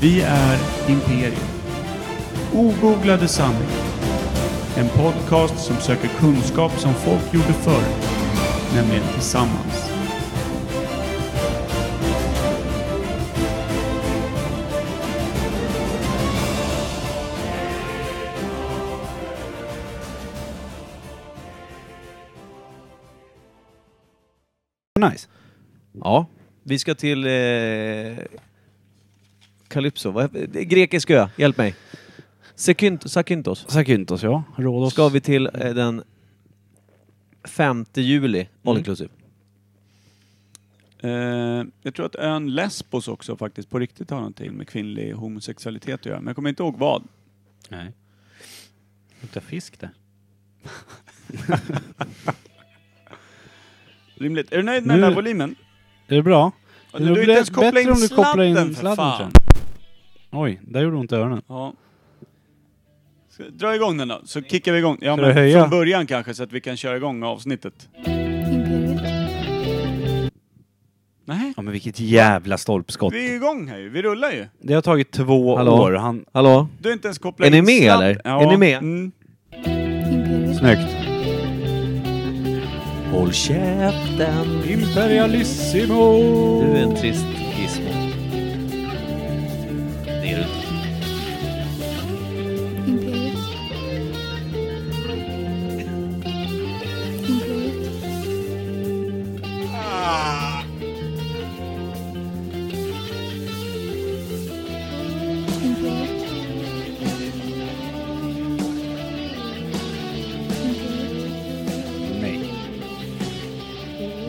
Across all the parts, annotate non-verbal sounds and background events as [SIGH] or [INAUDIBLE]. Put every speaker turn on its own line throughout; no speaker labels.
Vi är Imperium. Ogooglade sanningar. En podcast som söker kunskap som folk gjorde förr, nämligen tillsammans.
Nice.
Ja, vi ska till eh, Kalypso. Vad- det är Grekisk ö, hjälp mig. Sekynt- Sakyntos.
Sakyntos ja. Rhodos.
Ska vi till eh, den 5 juli,
Mm.
all inclusive.
Eh, jag tror att ön Lesbos också faktiskt på riktigt har någonting med kvinnlig homosexualitet att göra. Men jag kommer inte ihåg vad.
Nej. Luktar fisk där.
Rimligt. Är du nöjd med
Nu-
den här volymen?
Är det bra?
Du
Det
har
blir
inte ens kopplat
bättre
in
om du kopplar in
sladden, för
sladden
fan.
Oj, där gjorde ont i öronen.
Ja. Ska vi dra igång den då, så kickar vi igång. Ja,
Ska
men
du höja?
från början kanske så att vi kan köra igång avsnittet.
Imperiet.
Nej,
Ja men vilket jävla stolpskott.
vi är igång här ju. Vi rullar ju.
Det har tagit två
Hallå?
år. Han...
Hallå?
Du har inte ens kopplat
Är ni
in
med,
sladd.
eller? Är ni med?
Mm.
Imperiet.
Snyggt.
Håll käften!
Imperialissimo!
Du är en trist gizmo. Det är du inte.
Imperiet. Imperiet. Imperiet. Imperiet.
Nej.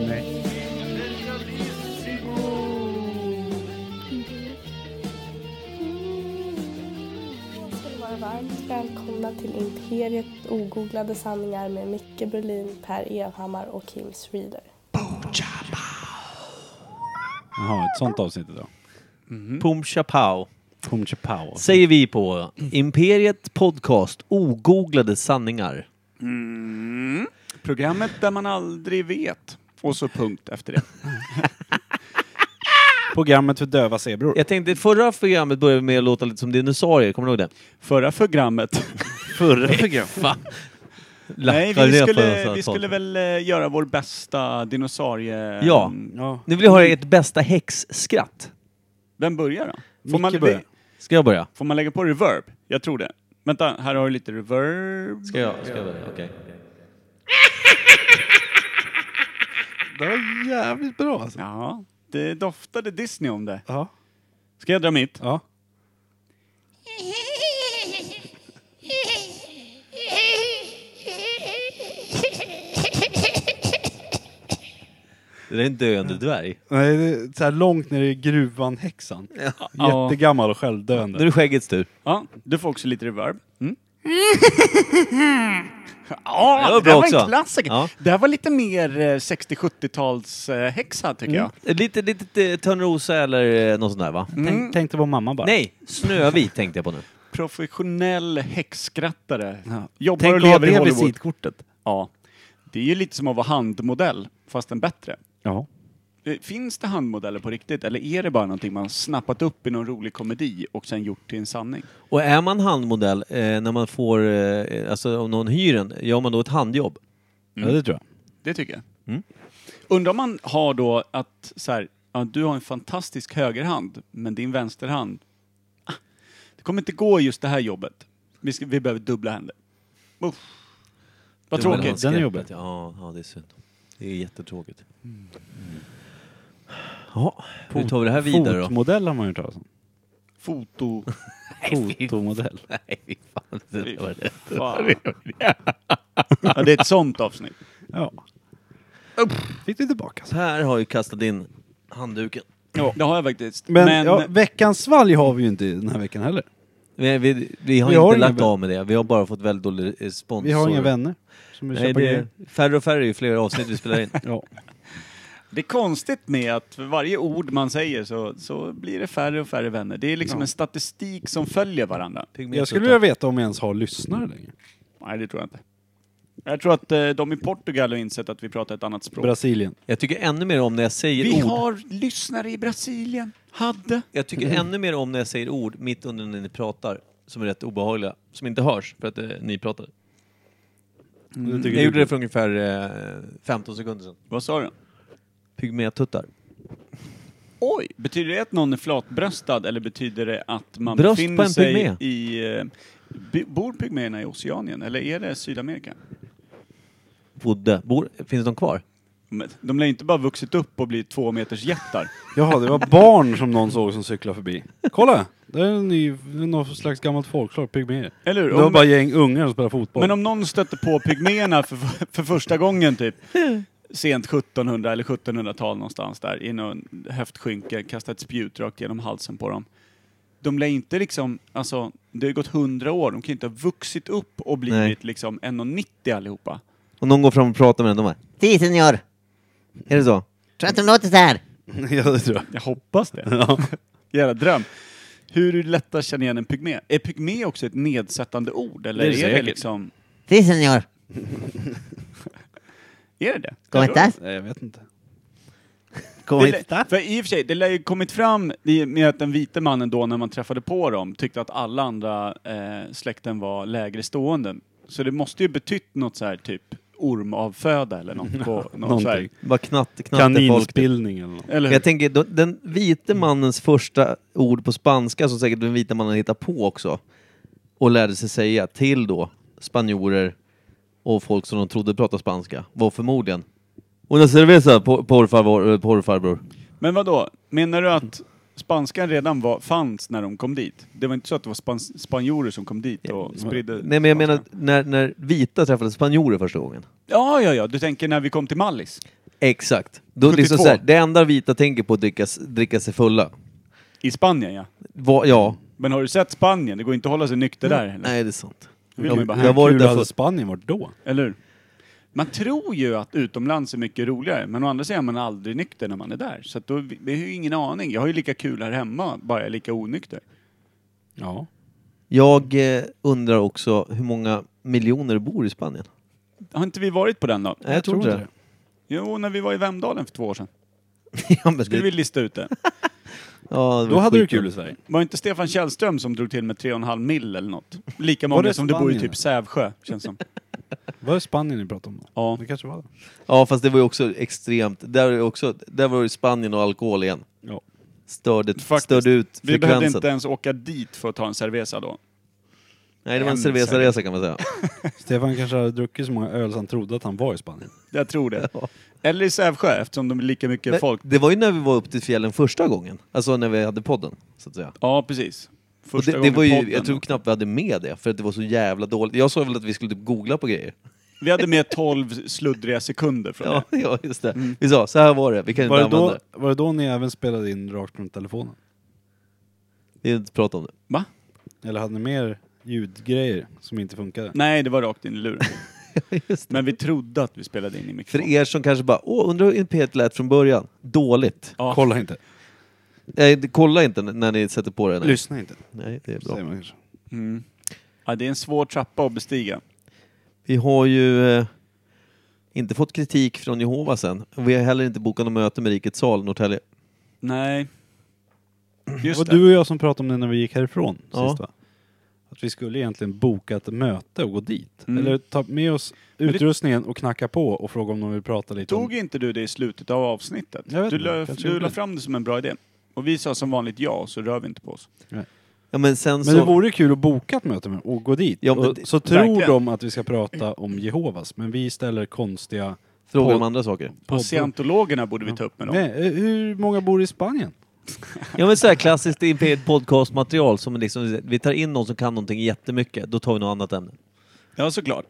Nej.
Imperiet.
ska ni vara varmt välkomna till Imperiet ogooglade sanningar med Micke Berlin, Per Evhammar och Kim Reader.
Jaha, ett sånt avsnitt idag.
Mm.
Pum Chapao.
Pum Chapao.
Säger vi på Imperiet Podcast Ogooglade sanningar.
Programmet där man aldrig vet. Och så punkt
[LAUGHS]
efter det.
Programmet för döva zebror.
Jag tänkte, förra programmet började med att låta lite som dinosaurier, kommer du ihåg det?
Förra programmet.
Förra programmet.
Nej,
Lackar
vi
det
skulle,
för-
vi skulle väl eh, göra vår bästa dinosaurie...
Ja.
Mm.
Ja.
Nu vill jag höra ert bästa häxskratt.
Vem börjar då? Får
Micke
man,
börjar.
Ska jag börja?
får man lägga på reverb? Jag tror det. Vänta, här har du lite reverb.
Ska jag, ska jag börja? Okej.
Det var jävligt bra alltså.
Ja, det doftade Disney om det.
Ja.
Ska jag dra mitt?
Ja.
[LAUGHS]
Det där är en döende dvärg.
Nej, det är så här långt ner i gruvan häxan.
Ja.
Jättegammal och
Nu
självdöende.
är det skäggets tur.
Ja, du får också lite reverb. Mm.
Det
[LAUGHS] Ja,
var
det,
bra
där var
också.
en klassiker.
Ja.
Det här var lite mer eh, 60-70-tals eh, häxa tycker jag.
Lite, lite eh, Törnrosa eller eh, något sånt där va?
Tänk, Mm. tänkte på mamma bara.
Nej, Snövit tänkte jag på nu.
Professionell häxskrattare.
Ja.
Jobbar
Tänk
och
att ha
lever i
det
Hollywood.
visitkortet.
Ja. Det är ju lite som att vara handmodell, fast en bättre.
Ja.
Eh, Finns det handmodeller på riktigt eller är det bara någonting man snappat upp i någon rolig komedi och sen gjort till en sanning?
Och är man handmodell, eh, när man får, eh, alltså om någon hyr en, gör man då ett handjobb?
ja, det tror jag.
Det tycker jag.
Mm.
Undrar om man har då att så här, ja, du har en fantastisk högerhand, men din vänsterhand, ah, det kommer inte gå i just det här jobbet. Vi, ska, vi behöver dubbla händer. Uff. Vad
Det var
tråkigt.
det
Den är
han skrev.
jobbig.
Ja, ja, det är synd. Det är jättetråkigt. Ja, hur tar vi det här vidare då?
Fotmodell har man ju hört talas om. [LAUGHS]
Foto.
Fotomodell.
Nej, fy fan. [LAUGHS] Det där var det.
Fan. ja, det är ett sånt avsnitt.
Ja. Fick du tillbaka. så.
Per har ju kastat in handduken.
Ja. Det har jag faktiskt.
Men,
Men,
ja, veckans svalg har vi ju inte den här veckan heller.
Vi, vi, vi har
Vi
inte
har ingen
lagt
vän.
av med det. Vi har bara fått väldigt dålig eh, sponsor.
Vi har inga vänner som vill
Nej,
köpa
det är
grejer.
färre och färre ju fler avsnitt vi spelar in.
Ja.
det är konstigt med att för varje ord man säger så, så blir det färre och färre vänner. Det är liksom en statistik som följer varandra.
Jag skulle vilja veta om vi ens har lyssnare längre.
Nej, det tror jag inte. Jag tror att eh, de i Portugal har insett att vi pratar ett annat språk.
Brasilien.
Jag tycker ännu mer om när jag säger
vi
ord.
har lyssnare i Brasilien. Hade.
Jag tycker ännu mer om när jag säger ord mitt under när ni pratar, som är rätt obehagliga, som inte hörs för att eh, ni pratar.
Mm.
Jag gjorde det för ungefär eh, 15 sekunder sedan.
Vad sa du?
Pygmétuttar.
Oj! Betyder det att någon är flatbröstad eller betyder det att man
Bröst på
befinner
en
sig
pygmé.
i... eh, by- Bor pygméerna i Oceanien eller är det Sydamerika?
Bodde. Bor, finns de kvar?
Men De lär ju inte bara vuxit upp och blivit två meters jättar.
Jaha, det var barn som någon såg som cyklade förbi. Kolla! Det är en ny, något slags gammalt folkslag, pygméer.
Eller hur?
Det var
Om-
bara gäng ungar som spelade fotboll.
Men om någon stötte på pygméerna för, för första gången typ sent 1700 eller 1700-tal någonstans där i någon höftskynke, kastade ett spjut rakt genom halsen på dem. De lär inte liksom, alltså det har ju gått 100 år, de kan ju inte ha vuxit upp och blivit
Nej.
liksom 1,90 allihopa.
Och någon går fram och pratar med den, de bara
Si, senor.
Är det så?
Tror att de låter så här.
[LAUGHS] ja, det tror jag.
Jag hoppas det. Jävla dröm. Hur är det lätt att känna igen en pygmé? Är pygmé också ett nedsättande ord eller
Det är
är,
det
det
säkert.
liksom,
Si, senor.
är det det?
Kom
Jag tror-
inte.
[LAUGHS] Nej, jag vet inte.
Kom
Det lä- För i och för sig, det lär ju kommit fram i, med att den vita mannen då när man träffade på dem tyckte att alla andra eh, släkten var lägre stående. Så det måste ju betytt något så här typ ormavföda eller något.
[LAUGHS]
På, något så här.
Någonting.
Bara knatt, knatte folk.
Kaninspillning eller något.
Eller hur?
Jag tänker, då- den vite mannens första ord på spanska som säkert den vita mannen hittar på också och lärde sig säga till då spanjorer och folk som de trodde pratade spanska var förmodligen Una cerveza, por por favor, eh, por farbror.
Men vad då? menar du att spanskan redan var, fanns när de kom dit? Det var inte så att det var spans, spanjorer som kom dit och spridde
Nej men jag menar
spanskan?
när, när vita träffade spanjorer första gången.
Ja, ja, ja, du tänker när vi kom till Mallis?
Exakt. Då
72.
liksom så här, det enda vita tänker på är att dricka, s- dricka sig fulla.
I Spanien, ja.
Va, ja.
Men har du sett Spanien? Det går inte att hålla sig nykter
Mm.
där heller.
Nej det är sant.
Vill man ju
Jag,
bara
jag var
Hur
där
hade
för,
Spanien varit då?
Eller hur? Man tror ju att utomlands är mycket roligare, men å andra sidan är man aldrig nykter när man är där. Så att då, det är ju ingen aning. Jag har ju lika kul här hemma, bara jag är lika onykter.
Ja.
Jag eh, undrar också hur många miljoner bor i Spanien?
Har inte vi varit på den då?
Nej, jag tror inte det.
Jo, när vi var i Vemdalen för två år sedan.
ja, men
Skulle
det, [LAUGHS]
vi lista ut det.
ja, det
Då
var
hade du
skit.
kul liksom. i Sverige.
Var det inte Stefan Källström som drog till med 3,5 mil eller något? Lika
Var
många
det
som det bor i
Spanien?
typ Sävsjö, känns som.
Var det Spanien ni pratade om då?
Ja.
Det kanske var det.
Ja, fast det var ju också extremt. Där, är också, där var ju Spanien och alkohol igen.
Ja.
Störde,
[LAUGHS] Faktiskt.
störde ut
Vi behövde
frekvensen.
inte ens åka dit för att ta en cerveza då.
Nej, det var en
en
cervezaresa kan man säga.
Stefan kanske hade druckit så många öl så han trodde att han var i Spanien.
Jag tror det. [LAUGHS] Eller i Sävsjö, eftersom de är lika mycket
Men
folk.
Det var ju när vi var upp till fjällen första gången. Alltså när vi hade podden, så att säga.
Ja, precis.
Och
Första
det, det
gången
var ju,
podden.
jag tror knappt vi hade med det, för att det var så jävla dåligt. Jag sa väl att vi skulle typ googla på grejer. [LAUGHS]
Vi hade med 12 sluddriga sekunder från
Ja, ja just det. Vi sa, så här var det, vi kan
Var
inte
det,
använda
då,
det.
var det då ni även spelade in rakt från telefonen?
Vi vill inte prata om det.
det. Va?
Eller hade ni mer ljudgrejer som inte funkade?
Nej, det var rakt in
[LAUGHS]
i luren.
Just
Men vi trodde att vi spelade in i
För
mikrofon.
er som kanske bara, åh, undrar hur imperiet lät från början. Dåligt.
Ja.
Kolla inte.
Eh, kolla inte n- när ni sätter på det. Nej,
Lyssna inte.
nej det är bra.
Säger man kanske.
Mm. Ja, det är en svår trappa att bestiga.
Vi har ju eh, inte fått kritik från Jehovas än. Vi har heller inte bokat något möte med Rikets sal, Norrtälje.
Nej.
Det
Just
var
det.
du och jag som pratade om det när vi gick härifrån
Ja.
sist va? Att vi skulle egentligen boka ett möte och gå dit.
Mm.
Eller ta med oss
det-
utrustningen och knacka på och fråga om de vill prata lite
Tog
om...
inte du det i slutet av avsnittet?
Jag vet
Du
inte,
la,
kanske
du
gjorde
la
det.
fram det som en bra idé. Och vi sa som vanligt ja, så rör vi inte på oss.
Ja, men sen
Men
så...
det vore kul att boka ett möte med dem och gå dit.
Ja, men
och,
det-
så tror
verkligen.
de att vi ska prata om Jehovas, men vi ställer konstiga...
Fråga
på-
om andra saker.
På-
Scientologerna borde vi ta upp med dem.
Nej, eh, hur många bor i Spanien?
Ja men så här klassiskt imperiet podcastmaterial som liksom, vi tar in någon som kan någonting jättemycket, då tar vi något annat ämne.
Ja, såklart.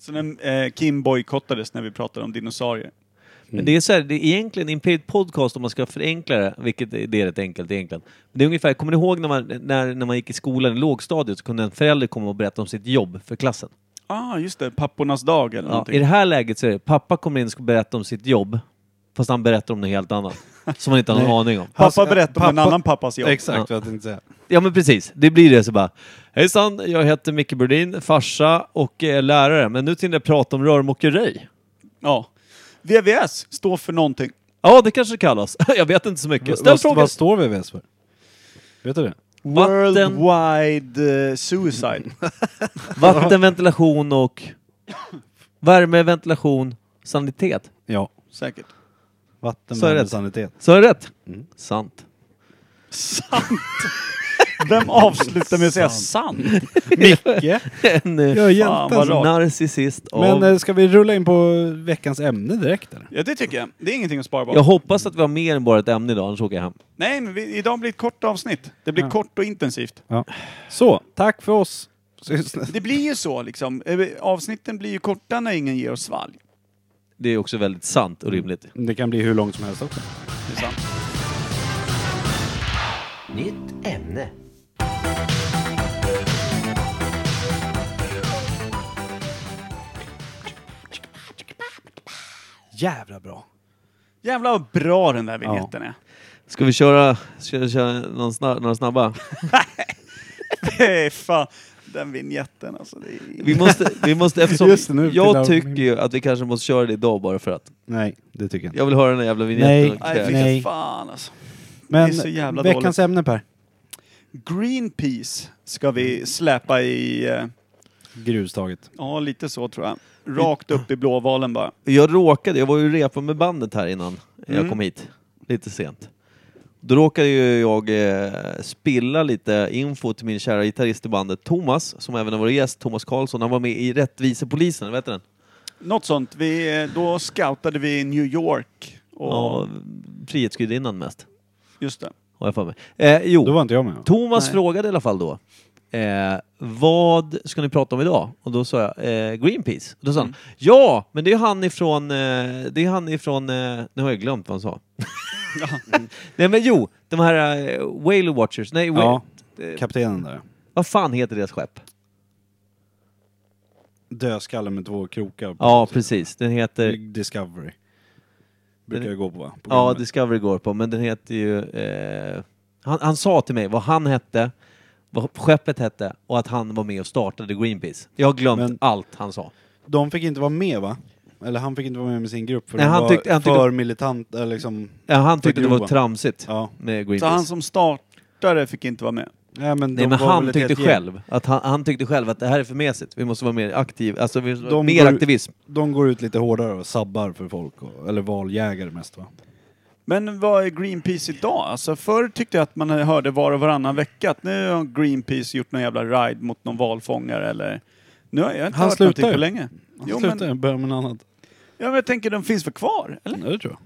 Så när eh, Kim bojkottades när vi pratade om dinosaurier.
Mm.
Men det är så här, det är egentligen Imperiet Podcast om man ska förenkla det, vilket är- det är rätt enkelt egentligen. Men det är ungefär, kommer ni ihåg när man, när, när man gick i skolan i lågstadiet så kunde en förälder komma och berätta om sitt jobb för klassen?
Ah, just det. Pappornas dag eller
Ja,
någonting.
I det här läget så är det, pappa kommer in och ska berätta om sitt jobb, fast han berättar om något
[LAUGHS]
helt annat. Som man inte har någon aning om.
Pappa berättar om en annan pappas jobb.
Exakt, vad jag tänkte säga.
Ja men precis, det blir det så bara. Hejsan, jag heter Micke Burdin, farsa och eh, lärare, men nu tänkte jag prata om rörmokeri.
Ja. VVS står för någonting.
Ja,
Ja, det kanske det
[LAUGHS]
kallas. Jag vet inte så mycket. Ställ
Vad-
frågan.
Vad står VVS för? Vet du det?
Vatten.
Worldwide eh, suicide.
Vatten,
[LAUGHS]
ventilation och värme, ventilation, sanitet.
Ja.
[LAUGHS] Säkert.
Vatten,
Så är
värme,
det.
sanitet.
Så är det rätt?
Mm.
Sant. [LAUGHS]
Sant! Vem avslutar med att säga sant?
Micke!
En eh,
Jag är
Fan, vad
hjälten.
rart.
narcissist av...
Men eh, ska vi rulla in på veckans ämne direkt eller?
Ja, det tycker jag. Det är ingenting att spara på.
Jag hoppas att vi har mer än bara ett ämne idag, annars åker jag hem.
Nej, men vi, idag blir ett kort avsnitt. Det blir kort och intensivt.
Så, tack för oss. Syns nästa-
Det blir ju så liksom. Eh, Avsnitten blir ju korta när ingen ger oss svalg.
Det är också väldigt sant
Mm.
och rimligt.
Det kan bli hur långt som helst också.
Det är sant.
Nytt ämne.
Jävla bra.
Jävlar vad bra den där vignetten är. [LAUGHS]
Ska vi köra, ska vi köra någon sna- några snabba?
Hey, fan. Den vignetten alltså. Det
[LAUGHS]
är...
Vi måste, vi måste eftersom
Just det, nu
jag
pillar-
tycker ju att vi kanske måste köra det idag bara för att.
Nej, det tycker jag inte.
Jag vill höra den där jävla
Nej.
vinjetten. och
Nej,
kräk.
vilket
Nej.
fan alltså.
Men
är så jävla
veckans ämne Per.
Greenpeace ska vi släpa i, eh,
Grustaget.
ja lite så tror jag. Rakt upp i blåvalen bara.
Jag råkade, jag var ju repa med bandet här innan jag
Mm.
kom hit. Lite sent. Då råkade ju jag eh, spilla lite info till min kära gitarrist i bandet Thomas, som även har varit gäst, Thomas Karlsson. Han var med i Rättvisepolisen, vet du den?
Något sånt. Vi, eh, då scoutade vi New York. Och,
Ja, Frihetsgudinnan mest,
Just det.
har jag för mig. Eh, jo.
Då var inte jag med.
Thomas
Nej.
frågade i alla fall då. Eh, vad ska ni prata om idag? Och då sa jag eh, Greenpeace. Och då sa han,
Mm.
ja, men det är han ifrån, eh, det är han ifrån, eh, nu har jag glömt vad han sa. [LAUGHS] nej men jo, de här eh, Whale Watchers, nej, whale,
Ja, kaptenen där.
vad fan heter deras skepp?
Dödskalle med två krokar. på
Ja,
sig.
precis, den heter,
Discovery. Brukar
Den-
jag gå på va?
ja
Programmet.
Discovery går på, men den heter ju, eh, han, han sa till mig vad han hette, vad skeppet hette och att han var med och startade Greenpeace. Jag har glömt
Men-
allt han sa.
De fick inte vara med va? Eller han fick inte vara med med sin grupp för
Nej,
de
han
var
tyckte- han tyckte-
för militant, eller liksom...
Ja, han tyckte det var
grova.
tramsigt
Ja.
med
Så
Greenpeace.
han som startade fick inte vara med.
Nej men,
Nej
de
men
var väl
han
ett
tyckte
helt gäng.
själv, att han, han tyckte själv att det här är för mesigt, vi måste vara mer aktiv, alltså vi måste vara
De
mer
går-
aktivism.
De går ut lite hårdare och sabbar för folk, och, eller valjägare mest va?
Men vad är Greenpeace idag? Alltså förr tyckte jag att man hörde var och varannan vecka att nu har Greenpeace gjort någon jävla ride mot någon valfångare eller... Nu har jag inte
Han
hört någonting
slutar ju.
på länge. Jo, men, ja,
Sluta, börja med något annat.
men jag tänker de finns väl kvar? Eller?
Nej, det tror jag.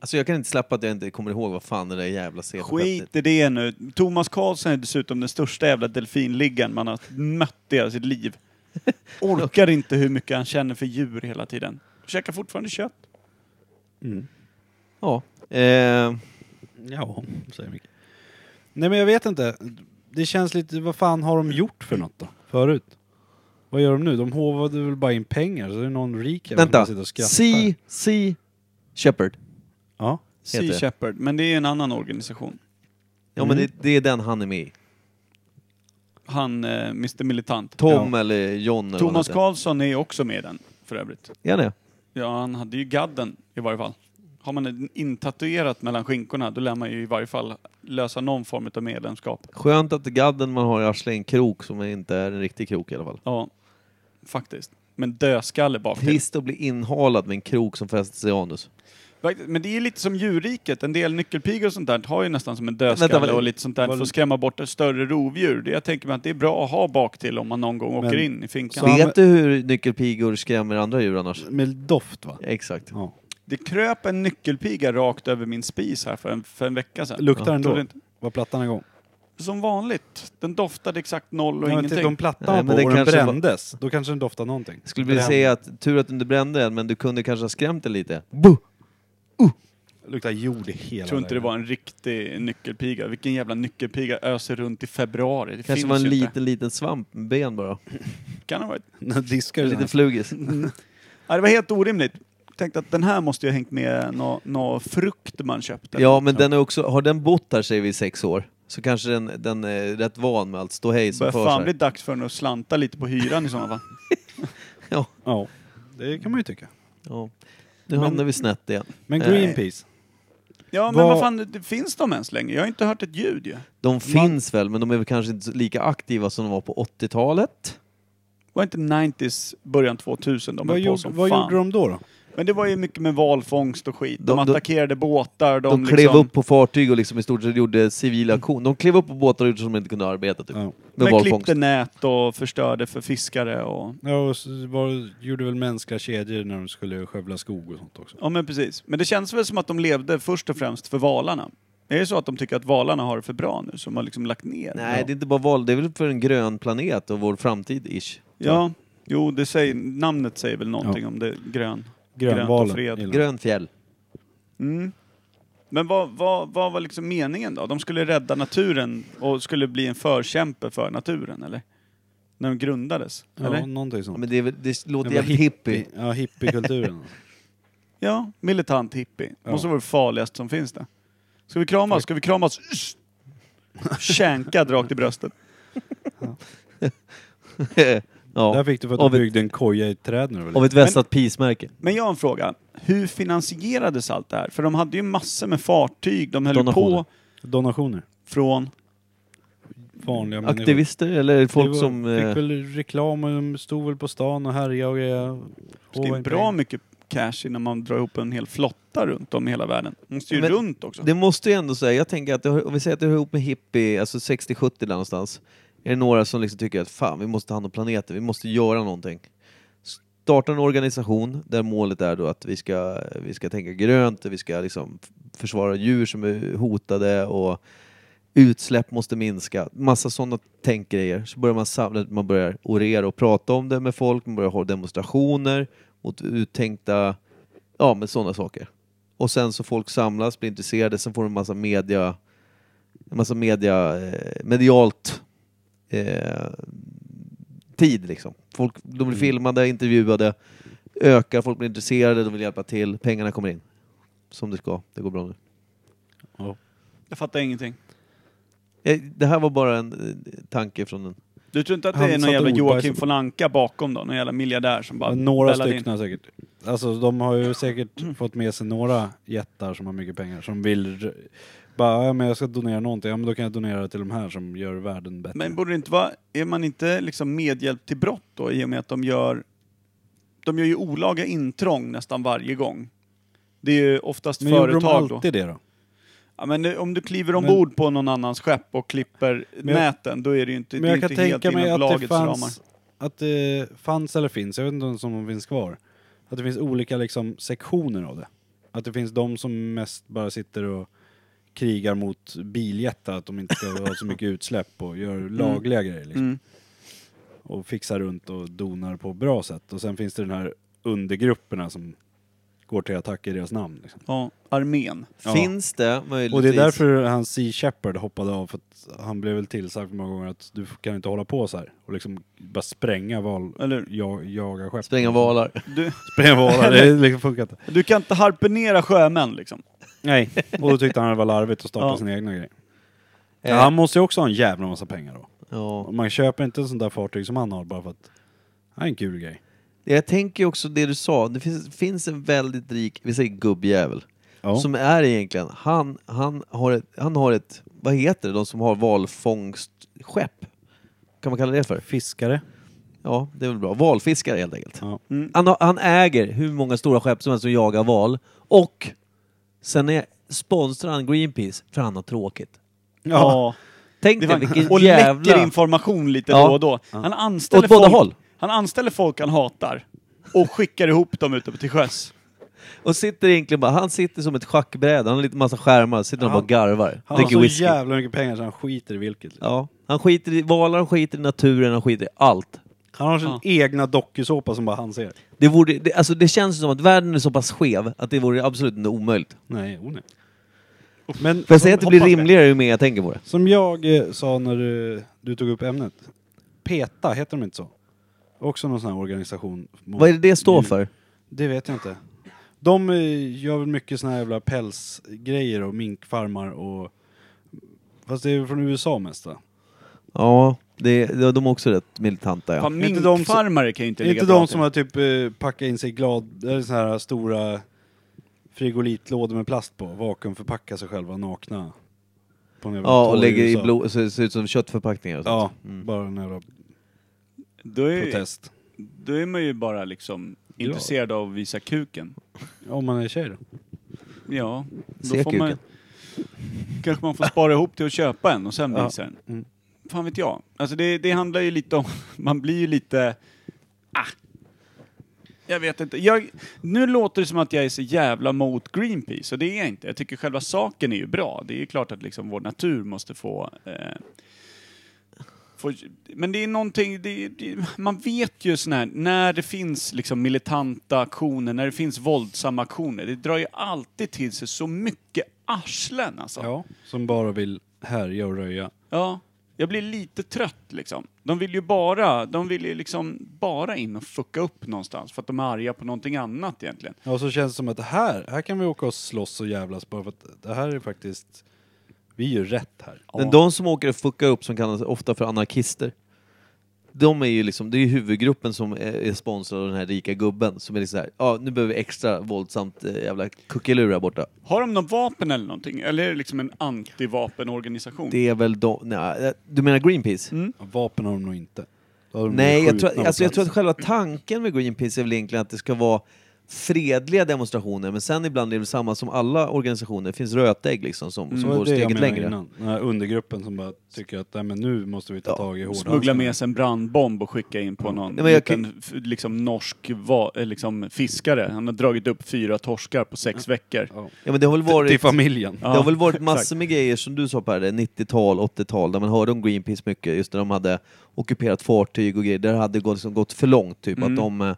Alltså jag kan inte släppa att jag inte kommer ihåg vad fan det där jävla CP-skeppet
Skit i det nu. Thomas Karlsson är dessutom den största jävla delfinliggaren man har mött i hela sitt liv. Orkar inte hur mycket han känner för djur hela tiden. Käkar fortfarande kött.
Mm. Ja. Eh,
Ja, säger Micke. Nej men jag vet inte. Det känns lite, vad fan har de gjort för något då? Förut? Vad gör de nu? De håvade väl bara in pengar, så det är någon rik jävel som bara
vänta.
sitter och skrattar.
Sea, sea Shepherd.
Ja.
Sea
Heter det.
Shepherd, men det är en annan organisation.
Ja men
Mm.
det, det är den han är med i.
Han, eh, Mr Militant.
Tom eller John eller
Thomas
vad han
Karlsson är ju också med i den, för övrigt.
heter. Är han det?
Ja, han hade ju gadden i varje fall. Har man den intatuerat mellan skinkorna, då lär man ju i varje fall lösa någon form av medlemskap.
Skönt att gadden man har i arslet är en krok som inte är en riktig krok i alla fall.
Ja, faktiskt. Men dödskalle baktill.
Trist att bli inhalad med en krok som fäster sig i anus.
Faktiskt, Men det är ju lite som djurriket. En del nyckelpigor och sånt där har ju nästan som en
Vänta,
dödskalle
vad-
och lite sånt där för att skrämma bort större rovdjur. Det jag tänker mig att det är bra att ha bak till om man någon gång
Men-
åker in i finkan.
Så han-
Vet du hur nyckelpigor skrämmer andra djur annars?
Med doft va?
Exakt.
Ja.
Det kröp en nyckelpiga rakt över min spis här för en, för en vecka sedan.
Luktar
Ja.
den
Tror du
då?
inte-
Var plattan igång?
Som vanligt. Den doftade exakt noll och
Ja, men titta,
ingenting.
om plattan
Nej,
var
men det
på och den
kanske var-
brändes, då kanske den doftar någonting.
Skulle vilja
Bränd.
säga att tur att du inte brände den, men du kunde kanske ha skrämt den lite.
Luktar jord i hela
Jag tror inte det var en riktig nyckelpiga. Vilken jävla nyckelpiga öser runt i februari? Det
Kanske
finns
var en
ju inte.
liten, liten svamp med ben bara.
Kan ha varit.
lägenheten. [LAUGHS] Diskar
En
du
liten
den?
flugis.
[LAUGHS] Ja, det var helt orimligt. Tänkte att den här måste ju ha hängt med någon nå frukt man köpte.
Ja, men den är också, har den bott här säger vi i sex år, så kanske den, den är rätt van med allt ståhej som
börjar
förs
fan
här.
bli dags för den att slanta lite på hyran i sådana fall.
Ja,
Ja, det kan man ju tycka.
ja. Nu hamnar vi snett igen.
Men
Nej.
Greenpeace,
[LAUGHS] Ja, men vad
Vad-
fan, det finns de ens längre? Jag har inte hört ett ljud ju.
De finns väl, men de är väl kanske inte så lika aktiva som de var på 80-talet.
Var inte 90s, början 2000 de
Vad,
höll på
gjorde,
som
vad
fan.
gjorde de då? då?
Men det var ju mycket med valfångst och skit.
De-
De,
de-
attackerade båtar, de,
De,
liksom...
klev upp på fartyg och liksom i stort sett gjorde civila aktion. De klev upp på båtar och gjorde som de inte kunde arbeta typ.
Ja.
Med
men
valfångst.
klippte nät och förstörde för fiskare och...
Ja, och så var, gjorde väl mänskliga kedjor när de skulle skövla skog och sånt också.
Ja men precis. Men det känns väl som att de levde först och främst för valarna. Är det så att de tycker att valarna har det för bra nu, som har liksom lagt ner?
Nej,
ja.
det är inte bara val. Det är väl för en grön planet och vår framtid, ish.
ja. Jo, det säger, namnet säger väl någonting om det grön. Grönt och
Grönvalen.
fred.
gillar de.
Grön fjäll.
Mm. Men vad, vad, vad var liksom meningen då? De skulle rädda naturen och skulle bli en förkämpe för naturen, eller? När de grundades,
Ja,
eller?
någonting
Ja,
sånt.
men det, är, väl- det låter
Det var
jävligt hippie.
Ja, hippiekulturen.
Ja, militant hippie.
Ja.
Måste vara det farligaste som finns där. Ska vi kramas? Ska vi kramas? Usch! Känkad rakt i bröstet.
Där
[LAUGHS] [LAUGHS] ja.
fick du för
Av
att du
ett-
byggde en koja i ett träd nu
Av
eller?
ett vässat peace-märke.
Men jag har en fråga. Hur finansierades allt det här? För de hade ju massor med fartyg. De höll
Donationer.
på
Donationer.
från...
Vanliga människor.
Aktivister eller folk
Det var-
som... eh,
Fick väl reklam och de stod väl på stan och härjade och grejade.
Det är
Håvade
bra
pengar.
mycket cash innan man drar ihop en hel flotta runt om i hela världen. De måste ju
Men
runt också.
Det måste ju ändå säga, jag tänker att det hör, om vi säger att det hör ihop med hippie, alltså 60-70 där någonstans. Är det några som liksom tycker att fan, vi måste ta hand om planeten, vi måste göra någonting. Starta en organisation där målet är då att vi ska, vi ska tänka grönt, vi ska liksom f- försvara djur som är hotade och utsläpp måste minska. Massa sådana tänkgrejer. Så börjar man samla, man börjar orera och prata om det med folk, man börjar ha demonstrationer mot uttänkta, ja men sådana saker. Och sen så folk samlas, blir intresserade, sen får de en massa media, en massa media, eh, medialt eh, tid liksom. Folk, de
Mm.
blir filmade, intervjuade, ökar, folk blir intresserade, de vill hjälpa till, pengarna kommer in. Som det ska, det går bra nu.
Jag fattar ingenting.
Eh, Det här var bara en eh, tanke från en...
Du tror inte att
Han
det är någon
satte
jävla
ord på
Joakim
det.
von Anka bakom då? Någon jävla miljardär som bara
Några
bällar in.
stycken säkert. Alltså de har ju säkert fått med sig några jättar som har mycket pengar som vill r- bara, ja men jag ska donera någonting, ja men då kan jag donera till de här som gör världen bättre.
Men borde det inte vara, är man inte liksom medhjälp till brott då i och med att de gör, de gör ju olaga intrång nästan varje gång. Det är ju oftast
men gjorde de
företag då.
alltid det då?
Ja, men det, om du kliver ombord på någon annans skepp och klipper
Men jag-
näten, då är det ju inte, det
Men
är
jag
inte
kan
helt
tänka mig
inom
att
lagets
det
ramar.
fanns, att det fanns eller finns, jag vet inte ens om de finns kvar, att det finns olika liksom sektioner av det. Att det finns de som mest bara sitter och krigar mot biljättar, att de inte ska ha så
[LAUGHS]
mycket utsläpp och gör lagliga grejer liksom.
Mm.
och fixar runt och donar på bra sätt. Och sen finns det den här undergrupperna som går till attack i deras namn. Liksom.
Ja, armén.
Ja.
Finns det möjligtvis...
Och det är därför han Sea Shepherd hoppade av, för att han blev väl tillsagd många gånger att du kan inte hålla på så här och liksom bara spränga val,
Eller-
ja, jaga skepp.
Spränga valar.
Du,
[LAUGHS] Spränga valar, det liksom funkar inte.
du kan inte harpunera sjömän liksom.
Nej. Och då tyckte han det var larvigt att starta
Ja.
sina egna grejer.
Eh.
Ja, han måste ju också ha en jävla massa pengar då.
Ja.
Och Man köper inte en sån där fartyg som han har bara för att det är en kul grej.
Jag tänker också det du sa, det finns, finns en väldigt rik, vi säger gubbjävel,
Ja.
som är egentligen, han, han, har ett, han har ett, vad heter det, de som har valfångstskepp? Kan man kalla det för?
Fiskare.
Ja, det är väl bra. Valfiskare helt enkelt.
Ja.
Han, har, han äger hur många stora skepp som helst som jagar val och sen är, sponsrar han Greenpeace för han har tråkigt.
Ja.
Tänk
Det
dig
var,
vilken
och läcker
jävla...
information lite
Ja.
då och då. Han anställer,
Åt båda
folk,
håll.
han anställer folk han hatar och skickar ihop dem ute på till sjöss.
Och sitter egentligen bara, han sitter som ett schackbräde, han har lite massa skärmar, sitter och bara
Han-
och garvar.
Han har
dricker
så
whisky.
jävla mycket pengar så han skiter i vilket. liksom.
Ja, han skiter i valar, han skiter i naturen, han skiter i allt.
Han har sin egna dokusåpa som bara han ser.
Det, vore, det, alltså det känns som att världen är så pass skev att det vore absolut inte omöjligt.
Nej, oh nej. Men
För jag
som,
säger att det blir
hoppas det.
rimligare ju mer jag tänker på det.
som jag eh, sa när du, du tog upp ämnet. PETA, heter de inte så? Också någon sån här organisation. mot-
Vad är det det står för?
Det vet jag inte. De eh, gör väl mycket såna här jävla pälsgrejer och minkfarmar och... Fast det är ju från USA mest va?
Ja, det, det- de är också rätt militanta ja.
Fan,
Inte de som-
minkfarmare kan ju inte
Det är
ligga
inte
bra
de
till.
som har typ eh, packat in sig glad... Eller såna här stora frigolitlådor med plast på, vakuumförpackar sig själva nakna. På en jävla
Ja, och
torg
lägger i
USA.
blod, så det ser ut som köttförpackningar och
Ja,
sånt.
bara en jävla
Då är,
protest.
då är man ju bara liksom intresserad av att visa kuken.
Om man är tjej då.
Ja,
Se
då får man, kanske man får spara ihop till att köpa en och sen
Ja.
visa den.
Mm.
Fan vet jag. Alltså det, det handlar ju lite om, [LAUGHS] man blir ju lite, ah. Jag vet inte. Jag, nu låter det som att jag är så jävla mot Greenpeace och det är jag inte. Jag tycker själva saken är ju bra. Det är ju klart att liksom vår natur måste få... Eh, få men det är någonting, det, det, man vet ju sån här, när det finns liksom militanta aktioner, när det finns våldsamma aktioner, det drar ju alltid till sig så mycket arslen alltså.
Ja, som bara vill härja och röja.
Ja, jag blir lite trött liksom. De vill ju bara, de vill ju liksom bara in och fucka upp någonstans för att de är arga på någonting annat egentligen.
Ja, och så känns det som att här, här kan vi åka och slåss och jävlas bara för att det här är faktiskt, vi är ju rätt här.
Men de som åker och fuckar upp, som kallas ofta för anarkister, de är ju liksom, det är ju huvudgruppen som är- är sponsrad av den här rika gubben som är liksom så här, ja nu behöver vi extra våldsamt eh, jävla kuckelur här borta.
Har de någon vapen eller någonting? Eller är det liksom en antivapenorganisation?
Det är väl de, nej, eh, du menar Greenpeace?
Ja, Vapen har de nog inte. Då har de
Nej,
blivit
jag tror,
skjutna
alltså, jag
på
tror att
plats.
själva tanken med Greenpeace är väl egentligen att det ska vara fredliga demonstrationer, men sen ibland är det väl samma som alla organisationer, det finns rötägg liksom som, som
Mm, Det
går
var det jag
steget
menade
längre.
Innan. Den här undergruppen som bara tycker att nej, men nu måste vi ta
Ja,
tag i hårdhandskarna.
Smuggla med sig en brandbomb och skicka in på någon
Nej, men jag
liten f- liksom norsk va, eh, liksom fiskare. Han har dragit upp fyra torskar på sex veckor.
Ja.
Ja, men det har väl varit...
Till familjen.
Ja,
Det har väl varit
exakt.
massor med grejer som du sa Per, det är 90-tal, 80-tal, där man hörde om Greenpeace mycket, just när de hade ockuperat fartyg och grejer, där hade det gått, liksom, gått för långt, typ
Mm.
att de, eh,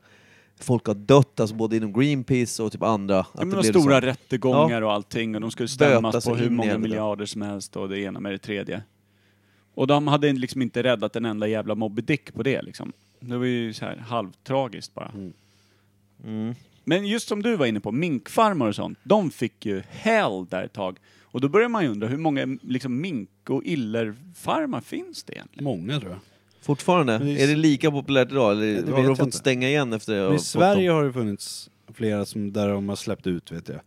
folk har dött, alltså både inom Greenpeace och typ andra. Att
Ja, men
det
de
blev
stora
liksom,
rättegångar och allting och de skulle
Böta
stämmas
sig
på hur
in i
många
helvete.
miljarder som helst och det ena med det tredje. Och de hade liksom inte räddat en enda jävla Moby Dick på det liksom. Det var ju så här halvtragiskt bara.
Mm.
Men just som du var inne på, minkfarmar och sånt, de fick ju hell där ett tag. Och då börjar man ju undra hur många liksom, mink och illerfarmar finns det egentligen?
Många tror jag.
Fortfarande,
Men det är-
är det lika populärt idag eller
det
har
vet
de
jag
fått
inte.
stänga igen efter det?
Men I Sverige har det funnits flera som, där de har släppt ut vet jag.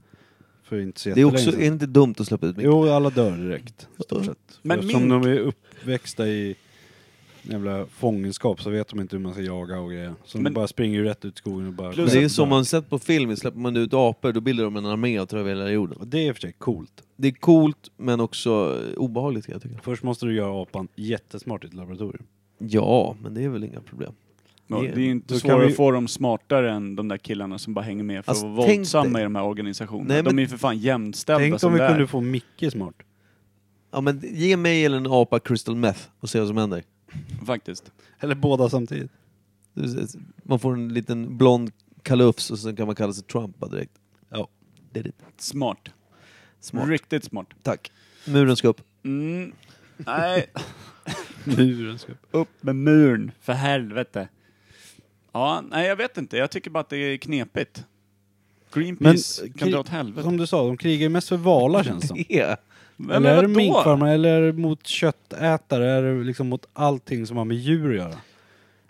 För inte så
Det är också
jättelänge
är
sedan.
det inte dumt att släppa ut mycket.
Jo, alla dör direkt. i Stort sett.
Men
Eftersom
mink-
de är uppväxta i jävla fångenskap så vet de inte hur man ska jaga och grejer. Så
Men-
de bara springer ju rätt ut i skogen och bara...
Plus-
Men det är ju
dör.
som man sett på film, släpper man ut apor då bildar de en armé och tar över hela jorden.
Och det är i och för sig coolt.
Det är coolt men också eh, obehagligt kan jag tycka.
Först måste du göra apan jättesmart i ett laboratorium.
Ja, men det är väl inga problem.
Ja, det är ju inte
Då kan
svårare
vi-
att få dem smartare än de där killarna som bara hänger med för
Alltså,
att vara
tänk
våldsamma
dig-
i de här organisationerna.
Nej,
De
men-
är ju för fan jämställda
Tänk
som
om vi
det är.
kunde få Micke smart.
Ja men ge mig eller en apa crystal meth och se vad som händer.
Faktiskt.
Eller båda samtidigt.
Man får en liten blond kalufs och sen kan man kalla sig Trump bara direkt.
Ja.
Det är det.
Smart.
Smart.
Riktigt smart.
Tack. Muren ska upp.
Mm.
[LAUGHS]
Nej,
Muren ska
upp med muren, för helvete. Ja, nej jag vet inte. Jag tycker bara att det är knepigt. Greenpeace
Men,
kan
kri-
dra åt helvete.
Som du sa, de krigar ju mest för
[LAUGHS]
valar känns det
[LAUGHS]
som.
Yeah.
Men
Eller är det
vadå?
minkfarmare, eller är det mot köttätare, är det liksom mot allting som har med djur att göra?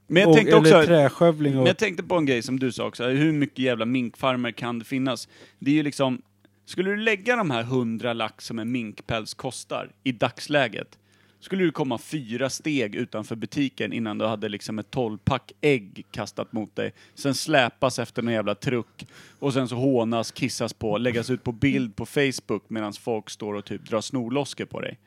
Men jag
och,
tänkte
eller
också...
träskövling och...
Men jag tänkte på en grej som du sa också, hur mycket jävla minkfarmer kan det finnas? Det är ju liksom, skulle du lägga de här 100 lax som en minkpäls kostar i dagsläget, skulle du komma fyra steg utanför butiken innan du hade liksom ett 12-pack ägg kastat mot dig, sen släpas efter någon jävla truck och sen så hånas, kissas på, läggas ut på bild på Facebook medan folk står och typ drar snorloskor på dig.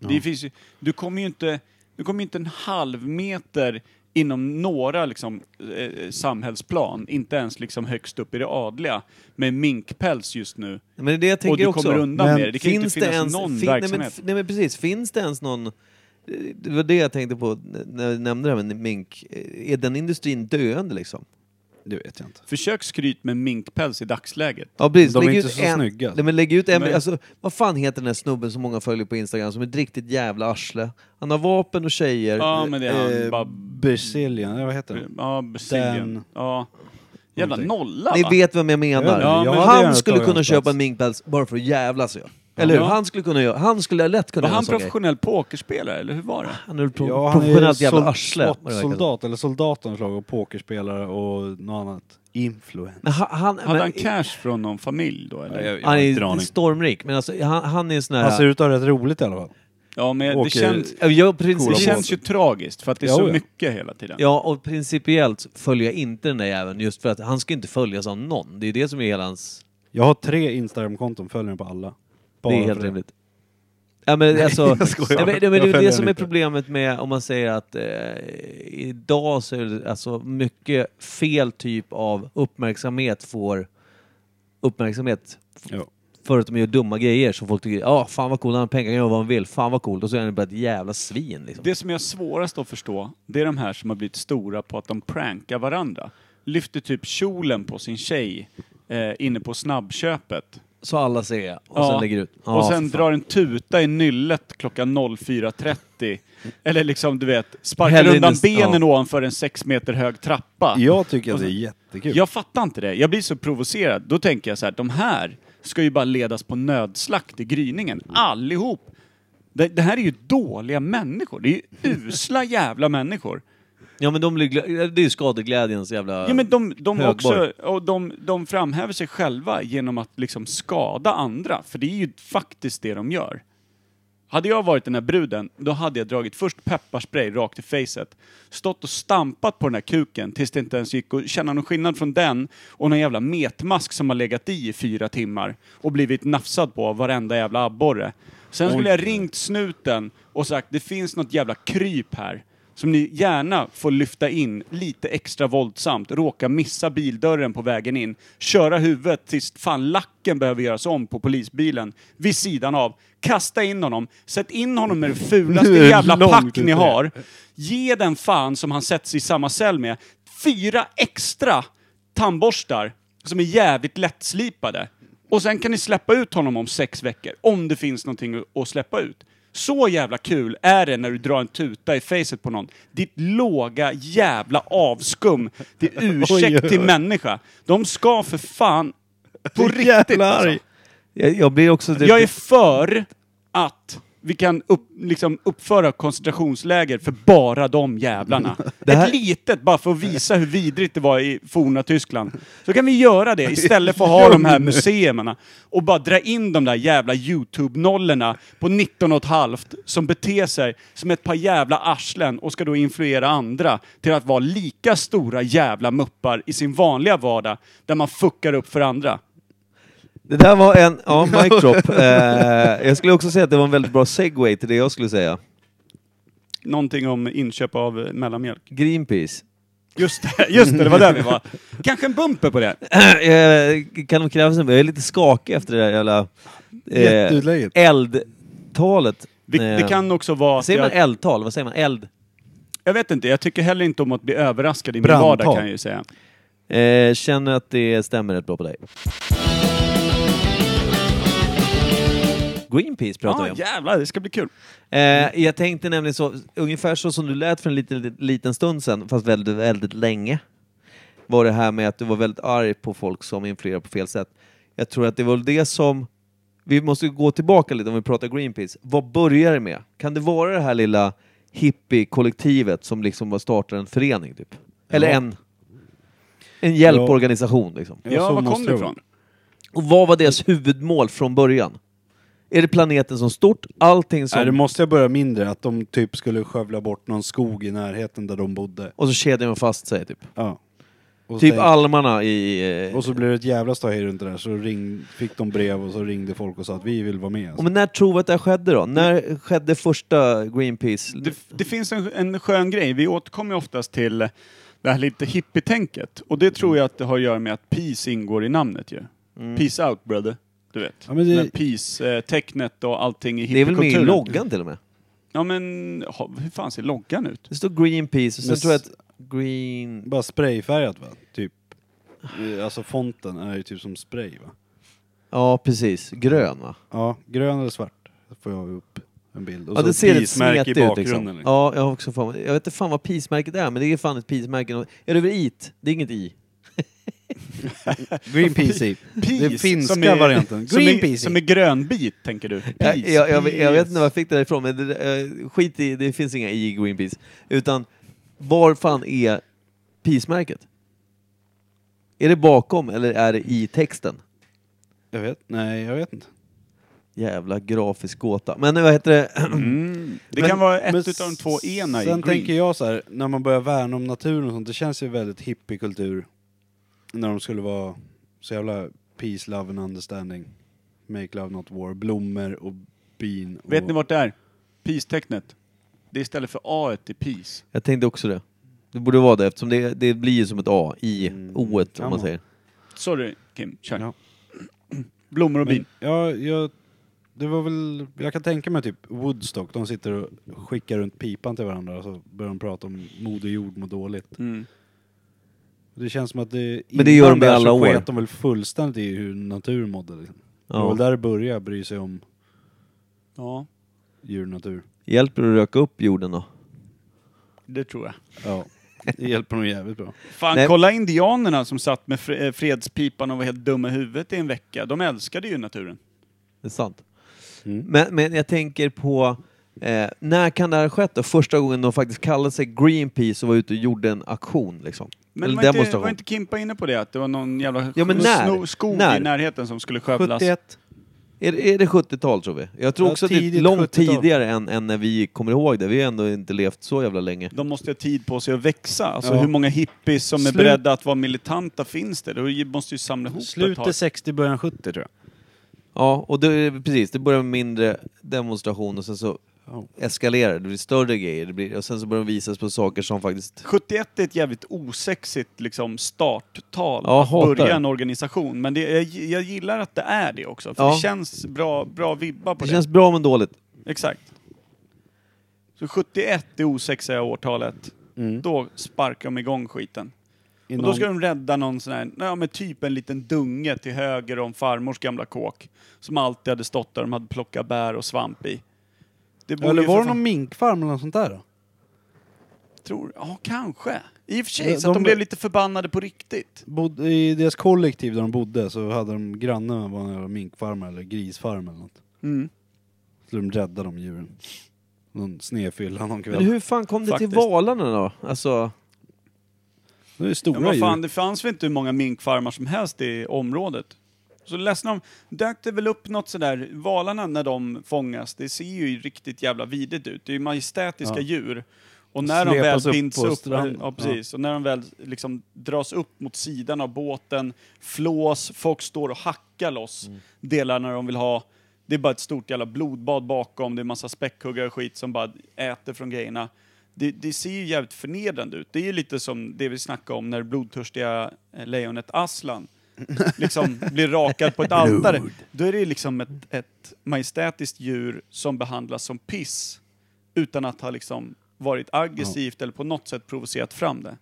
Det finns ju, du kommer ju inte, du kommer ju inte en halv meter inom några liksom, eh, samhällsplan, inte ens liksom högst upp i det adliga, med minkpäls just nu.
Men det är det jag
Och
tänker
du
också.
kommer undan
Men
med det. Det kan ju inte finnas
ens,
någon
fin- nej, men,
verksamhet.
nej men precis, finns det ens någon... Det var det jag tänkte på när jag nämnde det här med mink. Eh, Är den industrin döende liksom?
Det vet jag inte.
Försök skryt med minkpäls i dagsläget.
Ja precis,
De är
lägg
inte
ut
så
en,
snygga.
Nej, men lägg ut en,
Nej.
alltså, vad fan heter den här snubben som många följer på Instagram som är ett riktigt jävla arsle? Han har vapen och tjejer.
Ja, men det är han.
Eh,
Mm, Bara, Mm.
Brasilien, eller vad heter den?
ja, Brasilien.
den-
Ja. Jävla
Någonting.
nolla
Ni
va?
vet vem jag menar.
Ja, men-
det är
han skulle
ett av
kunna
hans
köpa
plats.
en minkpäls bara för att jävlas ju. Eller hur?
Ja.
Han skulle kunna göra, han skulle lätt kunna
Var
göra en
han
sån grej.
professionell pokerspelare, eller hur var det?
Han är väl pro-
Ja, han är
professionellt
ju
jävla
sol-
arsle. vad det verkar som.
Soldat, eller soldat av något slag, och pokerspelare och något annat. Influencer.
Men ha- han,
Hade
men-
han cash från någon familj då eller? Ja,
han
har inte en
är
aning.
stormrik, men alltså, han, han är en sån här...
Han ser ut att ha rätt roligt i alla fall.
men det
Åker-
känns,
Ja, jag, princip,
det känns ju tragiskt för att det är
Ja,
så
ja.
mycket hela tiden.
ja, och principiellt följer jag inte den där jäveln just för att han ska inte följas av någon. Det är det som är hela hans...
Jag har tre Instagram-konton, följer den på alla. Bara
det är helt
för
rimligt. Ja, men [LAUGHS] alltså,
jag skojar.
ja, men, ja,
Jag
men det är ju
följer
det som
den
är
inte.
problemet med om man säger att eh, idag så är det alltså mycket fel typ av uppmärksamhet får uppmärksamhet.
Ja.
För att de gör dumma grejer som folk tycker, ja fan vad cool, han har pengar, kan göra vad han vill, fan vad coolt. Och så är han bara ett jävla svin liksom.
Det som jag har svårast att förstå, det är de här som har blivit stora på att de prankar varandra. Lyfter typ kjolen på sin tjej eh, inne på snabbköpet.
Så alla ser och
Ja.
sen lägger ut. Ja,
och sen
för fan.
drar en tuta i nyllet klockan 04.30. Eller liksom, du vet, sparkar
Hellre
undan
in i-
benen
ja.
ovanför en sex meter hög trappa.
Jag tycker att det är jättekul.
Jag fattar inte det. Jag blir så provocerad. Då tänker jag så här, de här ska ju bara ledas på nödslakt i gryningen. Allihop! Det, det här är ju dåliga människor. Det är ju usla jävla människor.
Ja men de blir gla- det är ju skadeglädjens jävla...
Ja, men de, de,
Högborg.
också, och de, de framhäver sig själva genom att liksom skada andra, för det är ju faktiskt det de gör. Hade jag varit den här bruden, då hade jag dragit först pepparspray rakt i facet, stått och stampat på den här kuken tills det inte ens gick att känna någon skillnad från den och någon jävla metmask som har legat i i fyra timmar och blivit nafsad på av varenda jävla abborre. Sen skulle jag ringt snuten och sagt det finns något jävla kryp här som ni gärna får lyfta in lite extra våldsamt, råka missa bildörren på vägen in, köra huvudet tills fan lacken behöver göras om på polisbilen, vid sidan av, kasta in honom, sätt in honom med det fulaste
Nu är det
jävla
långt
pack ni
ute.
har, ge den fan som han sätts i samma cell med, fyra extra tandborstar som är jävligt lättslipade. Och sen kan ni släppa ut honom om sex veckor, om det finns någonting att släppa ut. Så jävla kul är det när du drar en tuta i facet på någon. Ditt låga jävla avskum. Det är ursäkt till människa. De ska för fan...
[LAUGHS]
På riktigt
jävla
alltså.
arg.
Jag, jag blir också... Det, typ-
Jag är för att vi kan upp, liksom uppföra koncentrationsläger för bara de jävlarna.
[LAUGHS] Det här-
Ett litet, bara för att visa hur vidrigt det var i forna Tyskland. Så kan vi göra det istället
[LAUGHS]
för att ha de här museerna och bara dra in de där jävla YouTube-nollorna på 19 och ett halvt som beter sig som ett par jävla arslen och ska då influera andra till att vara lika stora jävla muppar i sin vanliga vardag där man fuckar upp för andra.
Det där var en, ja, mic drop. Eh, jag skulle också säga att det var en väldigt bra segway till det jag skulle säga.
Någonting om inköp av eh, mellanmjölk.
Greenpeace.
Just det, just det, det var där vi var. [LAUGHS] Kanske en bumper på det.
Eh, kan de krävas en, jag är lite skakig efter det där jävla eh,
Jätteutlägget.
eldtalet.
Vi,
Eh,
Det kan också vara att
Säger man
jag,
eldtal? Vad säger man? Eld?
jag vet inte, jag tycker heller inte om att bli överraskad i min
Brandtal.
vardag kan jag ju säga.
Eh, känner att det stämmer rätt bra på dig. Greenpeace pratar vi
Ja,
om.
Ah, jävlar, det ska bli kul.
Eh, jag tänkte nämligen så, ungefär så som du lät för en liten, liten stund sedan, fast väldigt, väldigt länge, var det här med att du var väldigt arg på folk som influerar på fel sätt. Jag tror att det var det som, vi måste gå tillbaka lite om vi pratar Greenpeace. Vad börjar det med? Kan det vara det här lilla hippie-kollektivet som liksom bara startar en förening, typ? Eller
Ja.
en, en hjälporganisation, liksom?
Ja,
så
var
måste
kom du
det
ifrån?
Och vad var deras huvudmål från början? Är det planeten som stort? Allting som...
Nej, det måste jag börja mindre. Att de typ skulle skövla bort någon skog i närheten där de bodde.
Och så kedjar man fast sig, typ.
Ja. Och,
Typ
så,
almarna i... eh,
och så blev det ett jävla ståhej runt det där. Så ring, fick de brev och så ringde folk och sa att vi vill vara med.
och men när tror vi att det här skedde då?
Mm.
När skedde första Greenpeace?
Det, det finns en, en skön grej, vi återkommer ju oftast till det här lite hippietänket. Och det tror jag att det har att göra med att peace ingår i namnet ju.
Mm.
Peace out brother. Du vet.
Ja, men det-
Med peace-tecknet och allting i
Det är väl med i
hippiekulturen.
loggan till och med?
Ja men, ha- hur fan ser loggan ut?
Det står Greenpeace och sen
Men
tror jag
s-
att Green...
Bara sprayfärgat va? Typ. Eh, Alltså fonten är ju typ som spray va?
Ja, precis. Grön va?
Ja, grön eller svart får jag upp en bild. Och
Ja,
så
det ser
ett
lite
peace-märke
smetigt
i
ut
bakgrunden.
liksom.
liksom.
Ja, jag har också fan... Jag vet inte fan vad peace-märket är, men det är fan ett peace-märke. Är det över it? Det är inget i.
Greenpeace i. Den
Peace, som
finska
är-
varianten.
Som är,
Greenpeace
som är grönbit, tänker du?
Jag,
Peace,
Eh, jag, jag, jag vet
peace.
inte var jag fick det där ifrån, men det, eh, skit i, det finns inga i Greenpeace. Utan, var fan är peace-märket? Är det bakom eller är det i texten?
Jag vet, nej jag vet inte.
Jävla grafisk gåta. Men vad heter det? [CLEARS THROAT]
Mm. Det kan vara ett
Men
utav de två ena i
Sen
green.
tänker jag så här, när man börjar värna om naturen och sånt, det känns ju väldigt hippiekultur. När de skulle vara så jävla peace, love and understanding. Make love not war. Blommor och bin. Och
Vet ni vart det är? Peace-tecknet. Det är istället för A i peace.
Jag tänkte också det. Det borde vara det eftersom det, det blir ju som ett A i
Mm,
o om
kan
man
vara.
säger.
Sorry Kim, kör.
Ja.
Blommor och bin.
Men, ja, jag, det var väl, jag kan tänka mig typ Woodstock, de sitter och skickar runt pipan till varandra och så börjar de prata om moder jord mår dåligt.
Mm.
Det känns som att det,
Men det gör
innan
de i
där
alla
så
år.
sket de väl fullständigt i hur naturen mådde. Liksom. Det var
Ja.
väl där det började bry sig om
Ja,
djur och natur.
Hjälper det att röka upp jorden då?
det tror jag.
Ja, det hjälper nog jävligt bra.
Fan,
Nej.
kolla indianerna som satt med fre- eh, fredspipan och var helt dumma i huvudet i en vecka. De älskade ju naturen.
Det är sant.
Mm.
Men, men jag tänker på, eh, när kan det här ha skett då? Första gången de faktiskt kallade sig Greenpeace och var ute och gjorde en aktion liksom.
Men
Eller
var inte,
demonstration.
var inte Kimpa inne på det? Att det var någon jävla
Ja, men när?
sno- skog
När?
i närheten som skulle skövlas?
71.
Är, det- är det 70-tal tror vi? Jag tror
Ja,
också att det är
tidigt
långt
70-tal.
tidigare än, än när vi kommer ihåg det. Vi har ändå inte levt så jävla länge.
De måste ha tid på sig att växa. Alltså
Ja.
hur många hippies som är
Slut-
beredda att vara militanta finns det? Då måste ju samla ihop ett tag.
Slutet 60, början 70 tror jag.
Ja, och det, precis. Det börjar med mindre demonstration och sen så eskalerar det. Det blir större grejer. Det blir, och sen så börjar de visas på saker som faktiskt...
71 är ett jävligt osexigt liksom, starttal
Ja,
att
hatar det.
börja en organisation. Men det, jag, jag gillar att det är det också. För
Ja.
Det känns bra, bra vibbar på
Det
det.
känns bra men dåligt.
Exakt. Så 71, det osexiga årtalet,
Mm.
då sparkar de igång skiten.
I
Och då
någon-
ska de rädda någon sån här, ja men typ en liten dunge till höger om farmors gamla kåk. Som alltid hade stått där de hade plockat bär och svamp i. Det borde
Eller
ju för
var det
fan-
någon minkfarm eller något sånt där då?
Tror, ja kanske. I och för sig,
Ja,
så att
de-
de blev lite förbannade på riktigt.
Bodde, I deras kollektiv där de bodde så hade de grannen var en jävla minkfarm eller grisfarm eller något.
Mm.
Så de räddade de djuren. Någon snefylla någon kväll.
Men hur fan kom det till
Faktiskt.
valarna då? Alltså,
Det är ju
Ja,
stora
vad fan,
djur.
det fanns väl inte hur många minkfarmar som helst i området. Så ledsna om, dök det väl upp något sådär, valarna när de fångas, det ser ju riktigt jävla vidigt ut. Det är ju majestätiska
Ja.
djur. Och när de
Släpas
väl
upp
binds
på
upp,
stranden.
ja, precis, och när de väl liksom dras upp mot sidan av båten, flås, folk står och hackar loss
Mm.
delarna de vill ha. Det är bara ett stort jävla blodbad bakom, det är massa späckhuggare och skit som bara äter från grejerna. Det, det ser ju jävligt förnedrande ut. Det är ju lite som det vi snackade om när det blodtörstiga eh, lejonet
[LAUGHS]
Aslan liksom blir rakad på ett altare. Då är det ju liksom ett, ett majestätiskt djur som behandlas som piss utan att ha liksom varit aggressivt eller på något sätt provocerat fram det.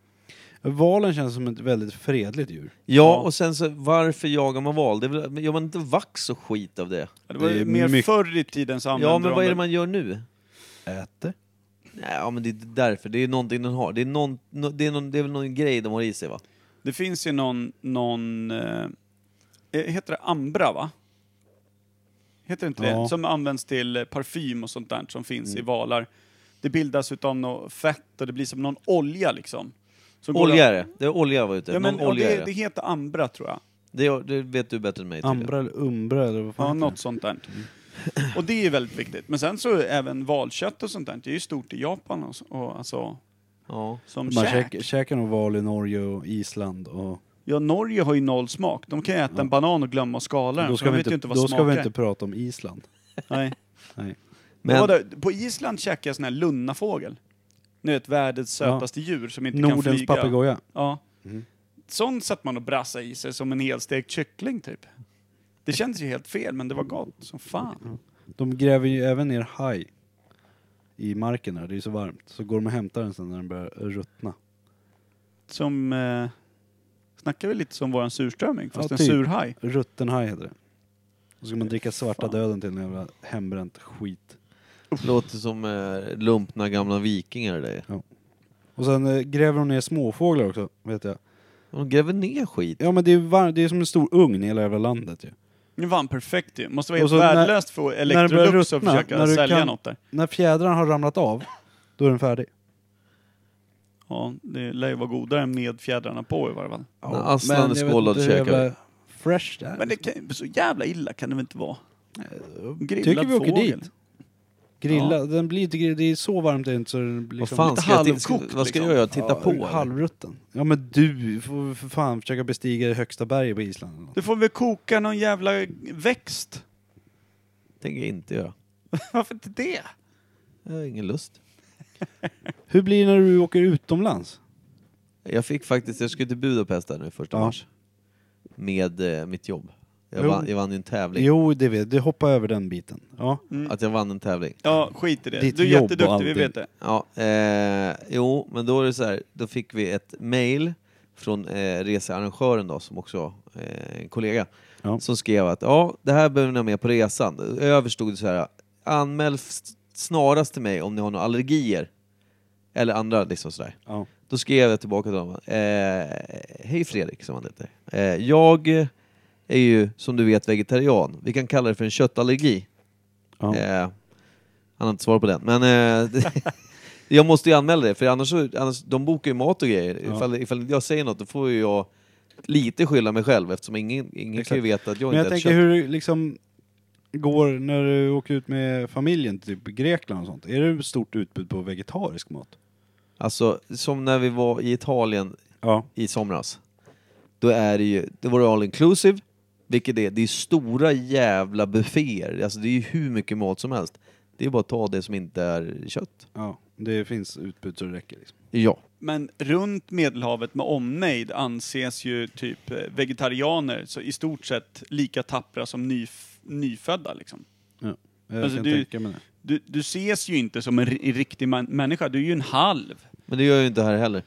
Valen känns som ett väldigt fredligt djur.
ja, och sen så varför jagar man val? Det är väl, gör man inte vax och skit av det?
Ja, Det var
Det är
ju mer
mycket-
förr i tiden så använde
Ja, men
de
vad är det
väl-
man gör nu?
Äter.
Nej, Ja, men det är inte därför. Det är någonting den har. Det är, någon, nå- det är, någon, det är väl någon grej de har i sig va?
Det finns ju någon, någon eh, heter det Ambra va? Heter det inte
Ja.
det? Som används till eh, parfym och sånt där som finns
Mm.
i valar. Det bildas utav något fett och det blir som någon olja liksom. Så går
Olja
det-
är det. Det är olja jag var ute
Ja,
efter.
men,
Någon
och
olja
det,
är
det
det.
heter Ambra tror jag.
Det, det vet du bättre än mig tydligen.
Ambra eller umbra eller vad fan
Ja,
heter
något sånt där.
Mm.
Och det är ju väldigt viktigt. Men sen så även valkött och sånt där, det är ju stort i Japan och, så- och alltså
Ja.
som
det? Man
käk.
käkar, käkar nog val i Norge och Island och...
Ja, Norge har ju noll smak. De kan ju äta en banan och glömma att skala den.
Då
för
ska,
de
vi
vet
inte,
ju inte vad
då
smak
ska vi
är.
inte prata om Island.
[LAUGHS] Nej.
Nej.
Men...
Men,
på Island käkar jag sån här lunnafågel. Ni vet världens
Ja.
sötaste djur som inte kan
Nordens
flyga.
papegoja. Mm.
Ja. Sånt satt man och brassade i sig som en helstekt kyckling typ. Det kändes ju helt fel men det var gott som fan.
De gräver ju även ner haj i marken där, det är ju så varmt. Så går de och hämtar den sen när den börjar ruttna.
Som... Eh, snackar vi lite som våran surströmming fast
Ja,
en
typ.
surhaj.
Rutten haj heter det. Och så ska man dricka svarta
Fan.
döden till en jävla hembränt skit.
låter som eh, lumpna gamla vikingar det där.
Och sen eh, gräver de ner småfåglar också, vet jag.
De gräver ner skit.
Ja men det är, var- det är som en stor ugn i hela jävla landet ju.
Det var en perfekt ju. Måste vara
Och
helt
så när-
värdelöst för
den börjar
Electrolux att
ruttna,
försöka
när du
sälja
kan-
något där.
När fjädrarna har ramlat av, då är den färdig.
Ja, det lär ju vara godare än med fjädrarna på i varje fall.
När aslan är
Men jag vet
skållad
inte hur
käkar vi.
jävla Fresh det här.
Men det kan, så jävla illa kan det väl inte vara? Grillad
Tycker vi åker
fågel.
dit. Grilla, den blir inte grillad, det är så varmt det är inte så den blir
Vad
liksom...
fan
lite
ska jag, till,
halvkokt,
vad ska jag
liksom.
göra? Titta på? eller?
Halvrutten. Ja men du får för fan försöka bestiga det högsta berget på Island. eller något.
Du får väl koka någon jävla
[LAUGHS]
växt?
tänker jag inte göra.
Varför inte det?
Jag har ingen lust.
Hur blir det när du åker utomlands?
Jag fick faktiskt, jag skulle till Budapest där nu första
Ja.
mars. Med eh, mitt jobb. Jag
Jo.
vann, jag vann ju en tävling.
Jo, det vet Du hoppar över den biten. Ja.
Att jag vann en tävling.
Ja, skit i det.
Ditt
du är
jobb och
jätteduktig, vi
allting.
vet det.
Ja, eh, jo, men då är det så här, då fick vi ett mail från eh, researrangören då, som också eh, en kollega,
Ja.
som skrev att ja, det här behöver ni ha med på resan. Överstod det så här, anmäl f- snarast till mig om ni har några allergier. Eller andra liksom sådär.
Ja.
Då skrev jag tillbaka till honom. Eh, Hej Fredrik, som han heter. Eh, jag är ju, som du vet, vegetarian. Vi kan kalla det för en köttallergi.
Ja.
Eh, han har inte svar på den. Men eh, [LAUGHS] det- jag måste ju anmäla det, för annars, så- annars de bokar ju mat och grejer.
Ja.
Ifall, ifall jag säger något, då får ju jag lite skylla mig själv eftersom ingen, ingen kan ju veta att jag
Men jag
inte
tänker
äter kött.
hur det liksom går när du åker ut med familjen till typ Grekland och sånt. Är det stort utbud på vegetarisk mat?
Alltså, som när vi var i Italien
Ja.
i somras. Då är det ju, det var det all inclusive, vilket det är, det är stora jävla bufféer. Alltså det är ju hur mycket mat som helst. Det är bara att ta det som inte är kött.
ja. Det finns utbud så det räcker. Liksom.
Ja.
Men runt Medelhavet med omnejd anses ju typ eh, vegetarianer så i stort sett lika tappra som nyf- nyfödda liksom.
Jag
Alltså,
kan
det är ju-
tänka mig det.
Du, du ses ju inte som en ri- riktig man- människa, du är ju en halv.
Men det gör jag ju inte här heller.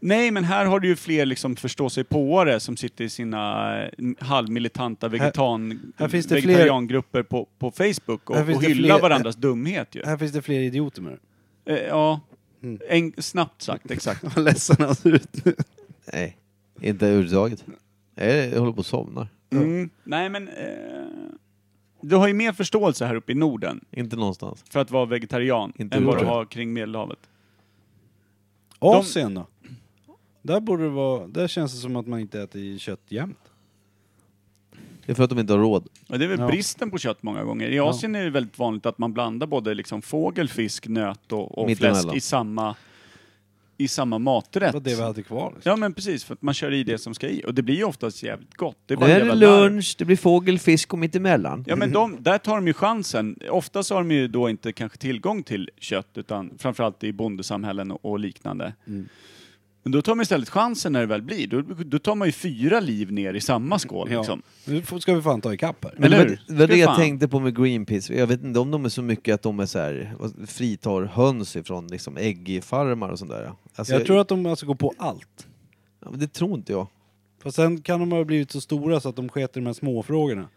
Nej, men här har du ju fler liksom förståsigpåare som sitter i sina eh, halvmilitanta vegetan,
här finns det fler-
vegetariangrupper på, på Facebook och,
Här finns
och
det
hyllar
fler-
varandras dumhet ju.
Här Mm. finns det fler idioter med det.
Eh, ja, en, snabbt
[LAUGHS]
sagt, exakt.
Vad ledsen han ser ut nu.
Nej, inte överhuvudtaget. Nej, Jag håller på att somna.
Mm. Nej, men... Eh, du har ju mer förståelse här uppe i Norden
Inte någonstans.
för att vara vegetarian
Inte
än vad du
Norden.
har kring Medelhavet.
Asien då? Där borde det vara, där känns det som att man inte äter kött jämt.
Det är för att de inte har råd.
Och det är väl
Ja.
bristen på kött många gånger. I Asien är det väldigt vanligt att man blandar både liksom fågel, fisk, nöt och, och
Mittemellan.
fläsk i samma, i samma
Det
maträtt.
var det vi hade kvar. Liksom.
Ja men precis, för att man kör i det som ska i. Och det blir ju oftast jävligt gott. Det är
Nu
bara
är
jävla
det
larv.
lunch, det blir fågel, fisk och mittemellan.
Ja men de, där tar de ju chansen. Ofta så har de ju då inte kanske tillgång till kött utan framförallt i bondesamhällen och, och liknande.
Mm.
Men då tar man istället chansen när det väl blir. Då, då tar man ju fyra liv ner i samma skål liksom.
Nu får- ska vi fan ta ikapp här.
Eller
Men
hur?
Det var
Fy
det jag
fan.
tänkte på med Greenpeace. Jag vet inte om de är så mycket att de är så här, vad- fritar höns ifrån liksom äggfarmar och sånt där. Alltså,
jag tror att de alltså går på allt.
ja, men det tror inte jag.
Fast sen kan de ha blivit så stora så att de sket i de här småfrågorna.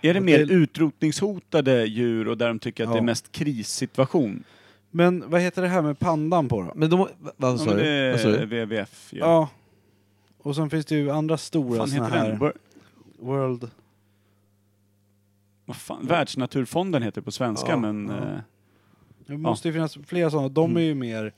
Är det
Och
mer
det-
utrotningshotade djur och där de tycker att det är
Ja.
mest krissituation?
Men vad heter det här med pandan på då?
Men de, har- va- vad
Ja,
sa
men det
du? Vad sa
är
du?
WWF ju.
Ja.
Ja.
Och sen finns det ju andra
Vad
stora
fan
såna
heter
här...
den? Wor-
World...
Vad fan? Världsnaturfonden heter det på svenska
Ja,
men...
ja.
eh,
Det måste ju finnas flera sådana. De är ju mer...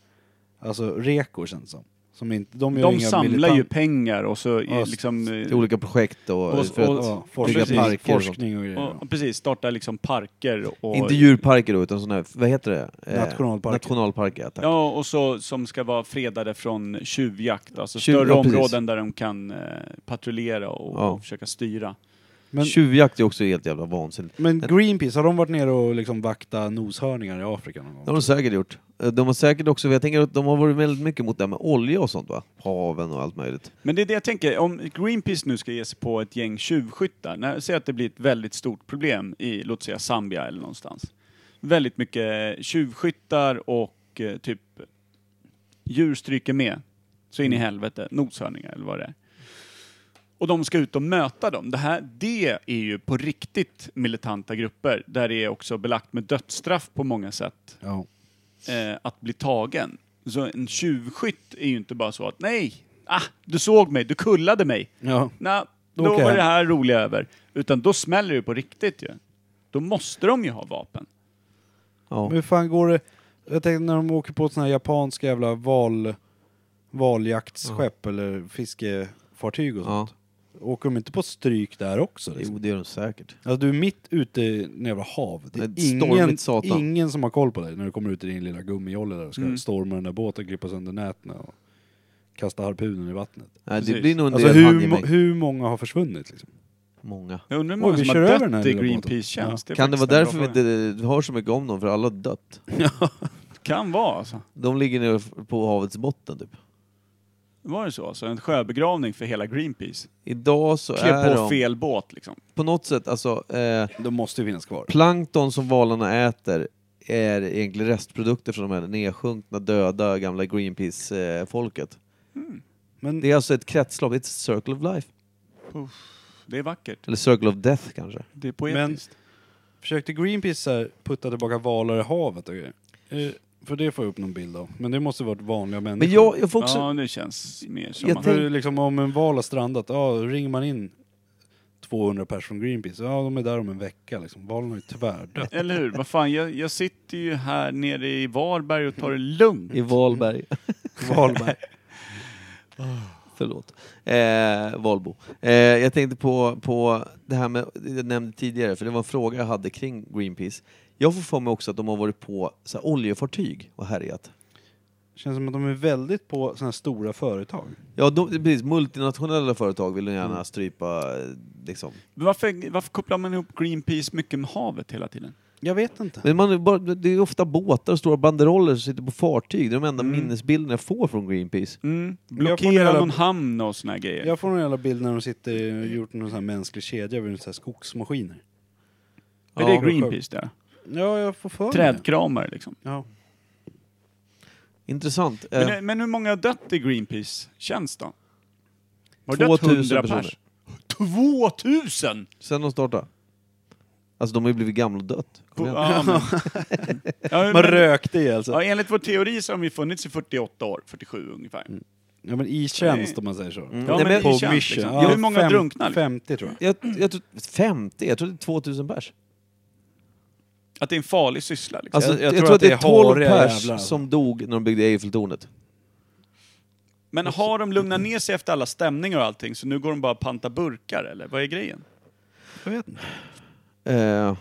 Alltså rekor känns det som. som inte, de gör
De
inga
samlar
militan-
ju pengar och så i,
Ja, s-
liksom... eh,
Till olika projekt och,
Och-
för att,
och-
Ja,
bygga
forskning,
parker och sånt.
forskning och grejer.
och, och precis, startar liksom parker och...
Inte djurparker då, utan sådana här, vad heter det? Eh,
Nationalparker.
Nationalparker, ja, tack.
Ja, och så som ska vara fredade från tjuvjakt. Alltså
Tjuv-
större
ja, precis.
områden där de kan eh, patrullera och,
Ja.
och försöka styra.
Men,
Tjuvjakt är också helt jävla vansinnigt.
men Greenpeace, har de varit nere och liksom vakta noshörningar i Afrika någon gång?
Det har de säkert gjort. Eh, De har säkert också, jag tänker att de har varit väldigt mycket mot det här med olja och sånt va? Haven och allt möjligt.
Men det är det jag tänker, om Greenpeace nu ska ge sig på ett gäng tjuvskyttar, när, säg att det blir ett väldigt stort problem i, låt säga Zambia eller någonstans. Väldigt mycket tjuvskyttar och eh, typ djur stryker med, så in i helvete, noshörningar eller vad det är. Och de ska ut och möta dem. Det, här, det är ju på riktigt militanta grupper, där det är också belagt med dödsstraff på många sätt
Ja.
eh, att bli tagen. Så en tjuvskytt är ju inte bara så att nej, ah, du såg mig, du kullade mig.
ja.
Nej, då
Då åker
var
jag
det
hem.
här roliga över. Utan då smäller det på riktigt ju. Då måste de ju ha vapen.
Ja.
Men hur fan går det? Jag tänkte när de åker på såna här japanska jävla val... valjaktsskepp eller fiskefartyg och
Ja.
sånt. Åker de inte på stryk där också? Liksom?
Jo, det gör de säkert.
Alltså du är mitt ute i en jävla hav. Det är
Ett
ingen,
stormigt satan. Mm.
ingen som har koll på dig när du kommer ut i din lilla gummijolle där och ska storma den där båten, klippa sönder näten och kasta harpunen i vattnet.
Nej, det
Precis.
blir nog en
Alltså
del
hur,
handgemäng.
mo- hur många har försvunnit liksom?
Många.
Jag undrar hur
Oj,
många
vi
som
kör
har
över den här
dött i
lilla båten.
Greenpeace tjänst. är
Kan det
faktiskt
vara
en bra
därför vi
fråga.
inte hör så mycket om dem? För alla har dött.
Kan vara alltså.
De ligger nere på havets botten typ.
Var det så? Alltså en sjöbegravning för hela Greenpeace.
Idag så
Klä
är
på
de
fel båt liksom.
på något sätt, alltså eh,
De måste ju finnas kvar.
plankton som valarna äter är egentligen restprodukter från de här nedsjunkna, döda gamla Greenpeace-folket.
Men
Det är alltså ett kretslopp, det är ett circle of life.
Det är vackert.
Eller circle of death kanske.
Det är poetiskt.
försökte Greenpeace så här, putta tillbaka valar i havet och grejer? Eh, För det får jag upp någon bild av. Men det måste varit vanliga människor.
Men jag, jag får också...
Ja, det känns mer som
Jag
att...
För
tänk-
liksom om en val har strandat, ja, då ringer man in 200 personer från Greenpeace. Ja, de är där om en vecka liksom. Valen har ju [LAUGHS] tvärdött.
Eller hur? Vad fan, jag, jag sitter ju här nere i Varberg och tar det lugnt.
I Valberg. [LAUGHS]
Valberg.
Förlåt. Eh, Valbo. Eh, jag tänkte på, på det här med, jag nämnde tidigare, för det var en fråga jag hade kring Greenpeace. Jag får för mig också att de har varit på så här, oljefartyg och härjat.
Känns som att de är väldigt på sådana här stora företag.
Ja, de, precis. Multinationella företag vill de gärna strypa, eh, liksom.
Men Varför, varför kopplar man ihop Greenpeace mycket med havet hela tiden?
Jag vet inte.
Men man, är bara, det är ofta båtar och stora banderoller som sitter på fartyg. Det är de enda minnesbilderna jag får från Greenpeace.
Mm.
jag får en
Blockera
jävla-
någon hamn och såna här grejer.
Jag får någon jävla bild när de sitter och gjort någon sån här mänsklig kedja vid så här skogsmaskiner.
Är det
Ja.
Greenpeace där?
Ja, jag får för mig det.
Trädkramare liksom.
Ja.
Intressant. Eh,
Men, men hur många har dött i Greenpeace tjänst då? Har det
2000
dött 100 pers? 2000?
sen de startade. Alltså de har ju blivit gamla och dött. Kom igen.
Ja, men, ja,
Man
men,
rökte i alltså.
ja, enligt vår teori så har vi funnits i 48 år, 47 ungefär.
Ja men i tjänst om man säger så.
Mm. Ja,
Nej,
men,
men-
i
På
tjänst,
mission.
liksom.
Ja,
Hur många
fem-
drunknar? Liksom?
50 tror jag.
Jag, jag tror 50, jag tror det är 2000 pers.
Att det är en farlig syssla liksom.
Alltså,
Jag-
jag,
jag
tror att det är 12
hariga
pers
jävlar.
som dog när de byggde Eiffeltornet.
Men har de lugnat ner sig efter alla stämningar och allting så nu går de bara och pantar burkar eller vad är grejen?
jag vet inte.
Eh,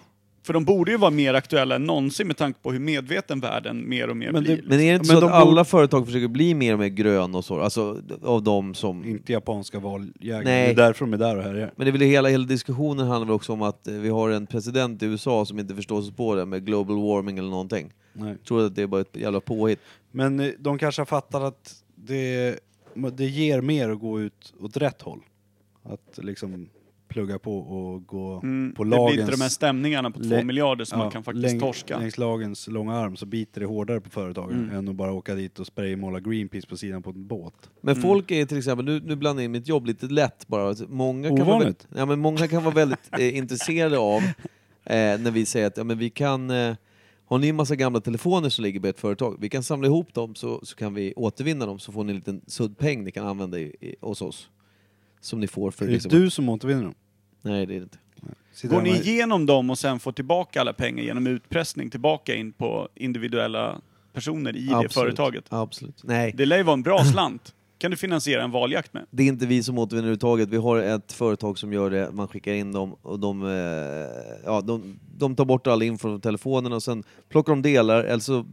För de borde ju vara mer aktuella än någonsin med tanke på hur medveten världen mer och mer
Men det-
blir.
men är det inte
Men
så att
de bor-
alla företag försöker bli mer och mer gröna och så? Alltså av de som...
Inte japanska valjägare. Det är
Nej.
därför de är där och härjar.
Men det är väl hela, hela diskussionen handlar väl också om att eh, vi har en president i USA som inte förstår sig på det med global warming eller någonting.
Nej.
Tror att det är bara ett jävla påhitt.
Men eh, de kanske har fattat att det, det ger mer att gå ut åt rätt håll. Att liksom plugga på och gå
Mm,
på
det blir
lagens...
inte de här stämningarna på två
Lä-
miljarder som
ja,
man kan faktiskt
läng-
torska. Mm.
Längs lagens långa arm så biter det hårdare på företagen än att bara åka dit och spraymåla Greenpeace på sidan på en båt.
Men folk är till exempel, nu, nu blandar jag in mitt jobb lite lätt bara. Alltså, Många kan, vara,
Ovanligt.
väldigt- ja, men många kan vara väldigt
[LAUGHS]
eh, intresserade av eh, när vi säger att ja, men vi kan, eh, har ni en massa gamla telefoner som ligger på ett företag, vi kan samla ihop dem så, så kan vi återvinna dem så får ni en liten suddpeng ni kan använda i, i, hos oss. Som ni får för
Det är
liksom.
du som återvinner dem.
Nej det är det inte.
Sitter
Går ni
hemma i-
igenom dem och sen får tillbaka alla pengar genom utpressning tillbaka in på individuella personer i det
Absolut.
företaget?
Absolut. Nej,
Det lär ju vara en bra slant. Kan du finansiera en valjakt med?
det är inte vi som återvinner överhuvudtaget. Vi har ett företag som gör det, man skickar in dem och de, eh, ja, de, de tar bort all info från telefonerna och sen plockar de delar, eller så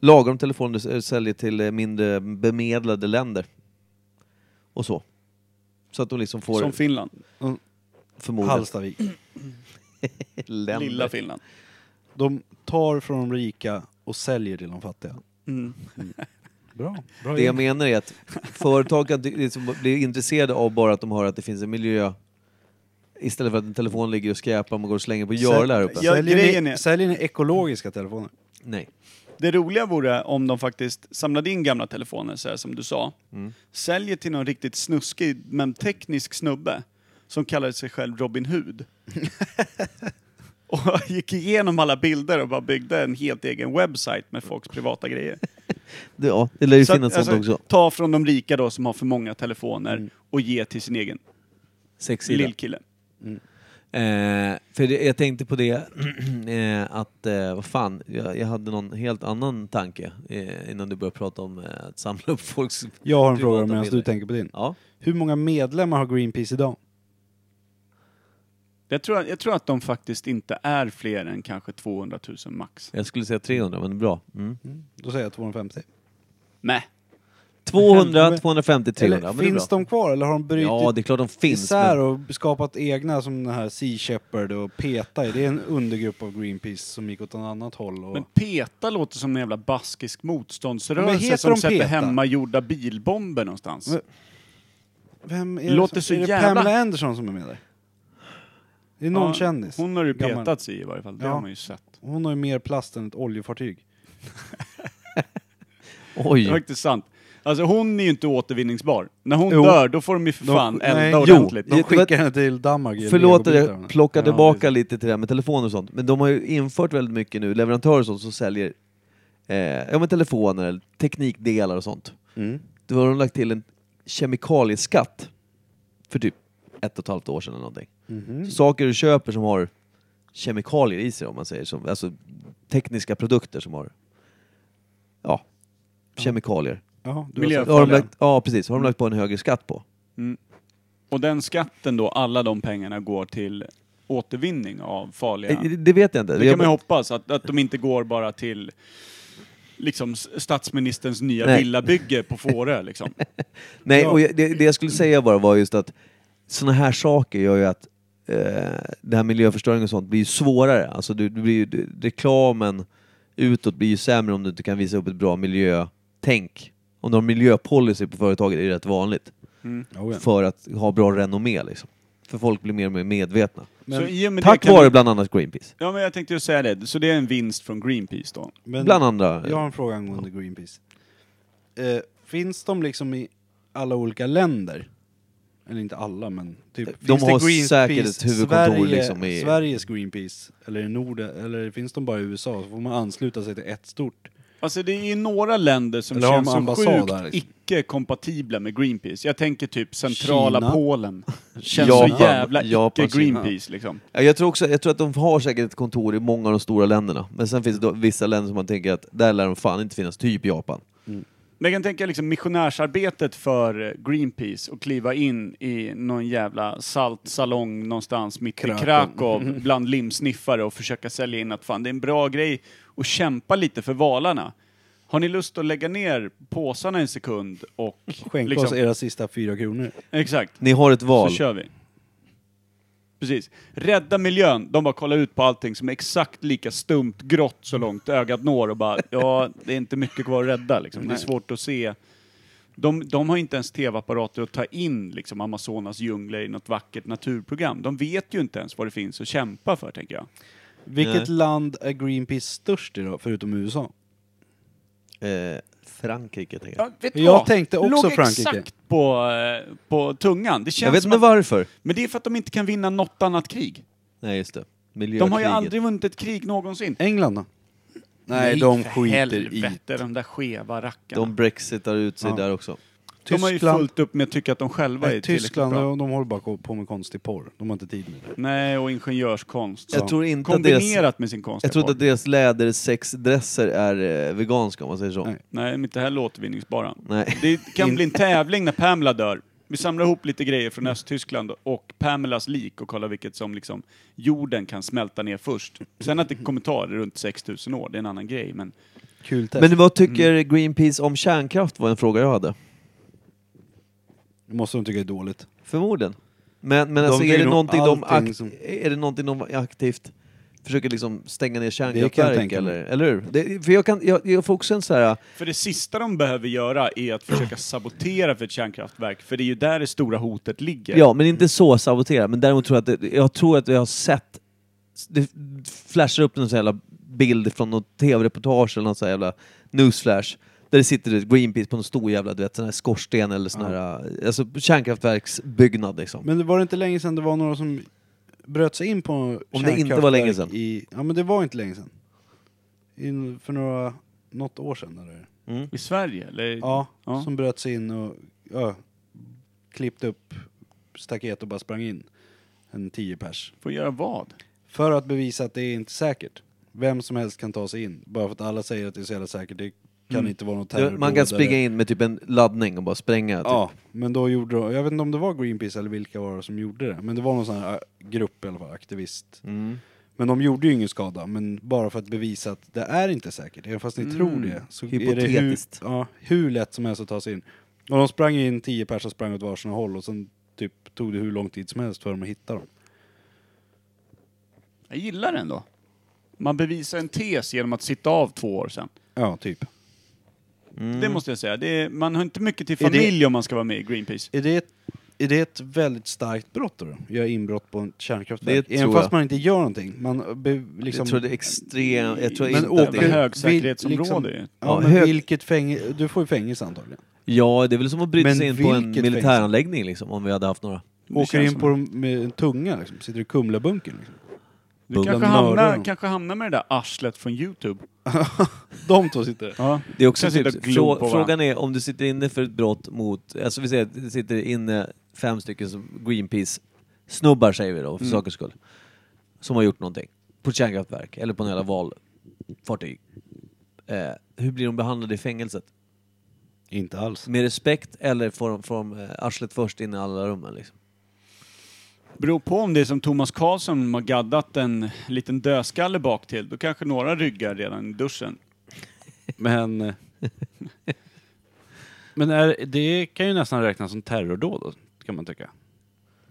lagar de telefoner och säljer till eh, mindre bemedlade länder. Och så. Så att de liksom får
Som Finland.
förmodligen
Hallstavik.
länder.
Lilla Finland.
De tar från de rika och säljer till de fattiga.
Mm.
Bra. Bra
Det jag
gäng.
menar är att företag kan ty- liksom bli intresserade av bara att de hör att det finns en miljö istället för att en telefon ligger och skräpar och man går och slänger på görlar här uppe.
Ja,
Säljer,
grejen
ni,
är-
säljer ni ekologiska telefoner?
Nej.
Det roliga vore om de faktiskt samlade in gamla telefoner, så här som du sa.
Mm.
Säljer till någon riktigt snuskig, men teknisk snubbe. Som kallade sig själv
[LAUGHS]
Robin Hood. och gick igenom alla bilder och bara byggde en helt egen webbsite med folks privata grejer.
Det, ja, det lär ju
Så att,
finnas sånt
alltså,
också. Mm.
Ta från de rika då som har för många telefoner och ge till sin egen
Sexsida.
lillkille.
Eh, för det, jag tänkte på det [CLEARS THROAT] eh, att, eh, vad fan, jag, jag hade någon helt annan tanke eh, innan du började prata om eh, att samla upp folks...
Jag har en
privata
fråga medan
bilder.
du tänker på din.
Ja.
Hur många medlemmar har Greenpeace idag?
Jag tror, jag tror att de faktiskt inte är fler än kanske 200 000 max.
Jag skulle säga 300, men bra. Mm.
Då säger jag 250.
Nej.
200, 250, 300.
Eller,
men det är
finns
bra.
de kvar eller har de brutit
Ja, det är klart de finns.
isär
Men,
och skapat egna som den här Sea Shepherd och PETA? Är det en undergrupp av Greenpeace som gick åt något annat håll? Och...
Men PETA låter som en jävla baskisk
Men
motståndsrörelse
heter
som
de
sätter
PETA?
hemmagjorda bilbomber någonstans.
Men- Vem är
Låter
det,
så
som- är det
jävla-
Pamela Anderson som är med där? Det är någon
Ja,
kändis.
Hon har ju
Gammal.
petats i i varje fall, det
Ja.
har man ju sett.
Hon har ju mer plast än ett oljefartyg.
Det är
oj.
faktiskt sant. Alltså hon är ju inte återvinningsbar. När hon
Jo.
dör, då får de ju för fan elda
nej,
ordentligt.
De
Jo,
skickar henne till Danmark. i
Förlåt att
legobitar.
jag plockar
Ja,
tillbaka lite till det här med telefoner och sånt, men de har ju infört väldigt mycket nu, leverantörer och sånt som säljer eh, ja, men telefoner, eller teknikdelar och sånt.
Mm.
Då har de lagt till en kemikalieskatt för typ ett och ett halvt år sedan eller någonting.
Mhm.
Saker du köper som har kemikalier i sig om man säger så, alltså tekniska produkter som har ja, kemikalier.
Ja, du har
Miljö-
sett
Har de
den.
lagt, ja precis, har de lagt på en högre skatt på.
Och den skatten då, alla de pengarna går till återvinning av farliga...
Eh, Det vet jag inte.
Det
Jag-
kan man ju hoppas, att, att de inte går bara till liksom s- statsministerns nya
Nej.
villabygge på
[LAUGHS]
Fårö liksom.
Nej,
Ja.
och jag, det, det jag skulle säga bara var just att sådana här saker gör ju att eh, det här miljöförstöring och sånt blir ju svårare. Alltså du, du blir ju, du, reklamen utåt blir ju sämre om du inte kan visa upp ett bra miljötänk. Om du har miljöpolicy på företaget är det rätt vanligt
Oh, ja.
för att ha bra renommé liksom. För folk blir mer och mer medvetna.
så i och med
Tack
det kan
vare
vi,
bland annat Greenpeace.
Ja men jag tänkte ju säga det, så det är en vinst från Greenpeace då.
Men
Bland andra.
Jag har en fråga angående Greenpeace. Eh, finns de liksom i alla olika länder? Eller inte alla, men typ.
De
finns
har säkert ett huvudkontor
Sverige,
liksom i-
Sveriges Greenpeace? Eller i Norden? Eller finns de bara i USA? Så får man ansluta sig till ett stort.
Alltså det är ju några länder som
Eller har
känns
de
som
ambassad
sjukt
där, liksom?
icke-kompatibla med Greenpeace. Jag tänker typ centrala
Kina. [LAUGHS]
Polen. Känns
Japan.
så jävla
Japan,
icke-Greenpeace liksom.
Ja, Jag tror, också, jag tror att de har säkert ett kontor i många av de stora länderna. Men sen finns det då vissa länder som man tänker att där lär de fan inte finnas, typ Japan.
Men jag kan tänka liksom missionärsarbetet för eh, Greenpeace och kliva in i någon jävla saltsalong någonstans mitt i
[LAUGHS]
Krakow bland limsniffare och försöka sälja in att fan det är en bra grej att kämpa lite för valarna. Har ni lust att lägga ner påsarna en sekund och... liksom-
Skänk
Liksom.
oss era sista fyra kronor.
Exakt.
Ni har ett val.
Så kör vi. Precis. Rädda miljön. De bara kollar ut på allting som är exakt lika stumt grått så långt ögat når och bara, ja, det är inte mycket kvar att rädda liksom. Det är svårt att se. De, de har inte ens tv-apparater att ta in liksom Amazonas djungler i något vackert naturprogram. De vet ju inte ens vad det finns att kämpa för, tänker jag.
Vilket land är Greenpeace störst i då, förutom USA?
Eh, Frankrike tänker jag.
Ja, vet
Jag tänkte också
Låg
Frankrike.
exakt på, eh, på tungan. Det känns
Jag vet
som
inte
att,
varför.
Men det är för att de inte kan vinna något annat krig.
Nej just det.
De har ju
Miljökriget.
aldrig vunnit ett krig någonsin.
England då? Nej, de
för
skiter i.
helvete, de där skeva rackarna.
De
De,
brexitar ut sig
Ja.
där också.
har ju
Tyskland-
fullt upp med att tycka att de själva är
Nej,
tillräckligt
Tyskland,
bra.
de, de håller bara på med konstig porr. De har inte tid med det.
Nej, och ingenjörskonst.
Jag
Så.
tror inte att deras,
Kombinerat med sin konstiga
jag tror inte att
form.
deras lädersexdresser är eh, veganska om man säger så.
Nej.
Nej, men inte heller återvinningsbara.
Nej.
Det kan bli en tävling när Pamela dör. Vi samlar ihop lite grejer från Östtyskland och Pamelas lik och kollar vilket som liksom jorden kan smälta ner först. Sen att det kommer ta det runt 6000 år, det är en annan grej. Men
Kul test.
Men vad tycker
Mm.
Greenpeace om kärnkraft var en fråga jag hade.
Det måste de tycka är dåligt.
Förmodligen. Men, men
De
alltså, är,
tycker
det
nog
någonting de
allting
akt-
som-
är det någonting de aktivt försöker liksom stänga ner
kan jag
kärnkraftverk
tänka mig.
eller, eller hur? Det, för jag, kan, jag, jag får också en så här...
För det sista de behöver göra är att försöka sabotera för ett kärnkraftverk, för det är ju där det stora hotet ligger.
Ja, men inte så sabotera. Men däremot tror jag att det, jag tror att jag har sett... Det flashar upp någon sån jävla bild från något tv-reportage eller någon sån här jävla newsflash. Där det sitter ett Greenpeace på en stor jävla du vet, sån här skorsten eller sån här... Alltså kärnkraftverksbyggnad liksom.
Men det var det inte länge sedan det var några som bröt sig in på
Om det
kärnkraftverk
inte var länge sedan.
I, ja men det var inte länge sedan. In, för några, något år sedan eller?
I Sverige? Eller?
Ja,
Ja.
som bröt sig in och ja, klippte upp staket och bara sprang in. än 10 pers.
Får göra vad?
För att bevisa att det är inte säkert. Vem som helst kan ta sig in. Bara för att alla säger att det är så jävla säkert. Det kan inte vara något
Ja,
terrordåd.
Mm. Man kan springa
eller-
in med typ en laddning och bara spränga. Typ.
Ja, men då gjorde de, jag vet inte om det var Greenpeace eller vilka var det som gjorde det. Men det var någon sån här äh, grupp i alla fall, aktivist.
Mm.
Men de gjorde ju ingen skada, men bara för att bevisa att det är inte säkert. Även fast ni tror det så
Hypotetiskt.
är det hur, ja, hur lätt som helst att ta sig in. Och de sprang in, tio personer sprang åt varsin håll och sen typ tog det hur lång tid som helst för dem att hitta dem.
Jag gillar den då. Man bevisar en tes genom att sitta av två år sen.
Ja, typ.
Det måste jag säga. Det är, man har inte mycket till
Mm. Är det-
familj om man ska vara med i Greenpeace.
Är det, ett, är det ett väldigt starkt brott då? Göra inbrott på ett kärnkraftverk?
Det
Även
tror
fast
jag.
man inte gör någonting. Man be, liksom,
jag tror det är extremt... Jag tror
Men
inte
åker-
att det är...
högsäkerhetsområde ju.
ja,
Ja,
men
hög-
vilket fängelse, du får ju fängelse antagligen.
Ja, det är väl som att bryta
Men
sig in på en
vilket
militäranläggning liksom, om vi hade haft några.
Åker
känns
in
som
på dem med en tunga liksom, sitter i Kumlabunkern. Liksom.
Du kanske
Den mördar
hamnar,
dem.
kanske hamnar med det där arslet från Youtube.
[LAUGHS] De två sitter där.
Ja.
Det är också
Kan sitta
typ,
och glo på
frå,
varandra.
frågan är om du sitter inne för ett brott mot, alltså vi säger att det sitter inne fem stycken som Greenpeace-snubbar säger vi då,
Mm.
för sakens skull. Som har gjort någonting. På ett kärnkraftverk eller på en jävla valfartyg. Eh, hur blir de behandlade i fängelset?
Inte alls.
Med respekt eller får de, får de eh, arslet först in i alla rummen liksom?
Beror på om det är som Thomas Karlsson har gaddat en liten dödskalle bak till. Då kanske några ryggar redan i duschen.
Men... [LAUGHS] eh, men är, det kan ju nästan räknas som terrordåd, då, kan man tycka.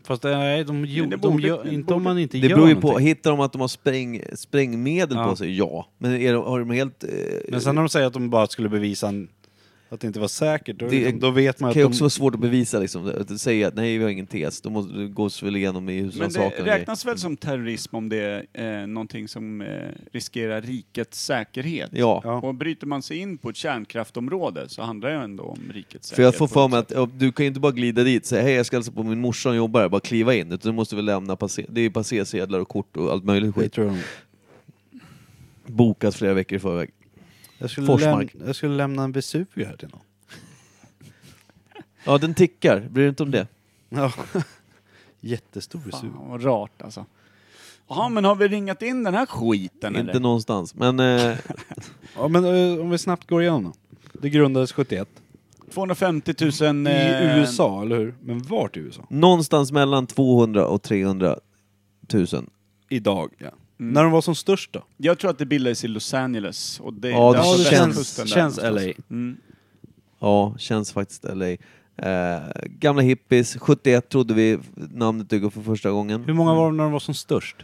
Fast eh, nej, de,
Men det
gjorde,
borde-
de gör,
det
inte om
borde-
man inte
Det
gör
beror ju på.
någonting.
Hittar de att de har spräng, sprängmedel
Ja.
på sig? Ja. Men är de, har de helt... Eh,
Men sen när de säger att de bara skulle bevisa en, att det inte var säkert, då,
Det
liksom, då vet man
kan
att
ju
de...
också vara svårt att bevisa liksom. Att säga att nej, vi har ingen tes. Då måste det gås väl igenom i
Men det
husrannsakan. och grejer.
räknas väl som terrorism om det är eh, någonting som eh, riskerar rikets säkerhet?
Ja.
Ja.
Och bryter man sig in på ett kärnkraftområde så handlar det ju ändå om rikets säkerhet.
För jag får
på
för
något
mig
sätt.
att ja, du kan ju inte bara glida dit och säga hej jag ska hälsa på min morsa som jobbar här, bara kliva in. Utan du måste väl lämna passé, det är ju passersedlar och kort och allt möjligt
Det
skit.
tror jag de.
Bokat flera veckor i förväg.
Jag skulle, läm,
Forsmark.
jag skulle lämna en Vesuvio här till någon.
Ja, den tickar. Bryr du dig inte om det?
Ja. Jättestor Vesuvio.
Fan vad rart alltså. Jaha, men har vi ringat in den här skiten
inte
eller?
någonstans. Men eh, [LAUGHS]
Ja, men eh, om vi snabbt går igenom då. Det grundades 71.
250 000...
I
eh,
USA, eller hur? Men vart i USA?
någonstans mellan 200 och 300 000.
Idag, ja. När de var som störst då?
Jag tror att det bildades i Los Angeles. Och det,
Ja, det
där på
känns-
västkusten där
känns
någonstans.
LA.
Mm.
Ja, känns faktiskt LA. Eh, gamla hippies, 71 trodde vi namnet dök upp för första
Hur
gången.
många var de när de var som störst?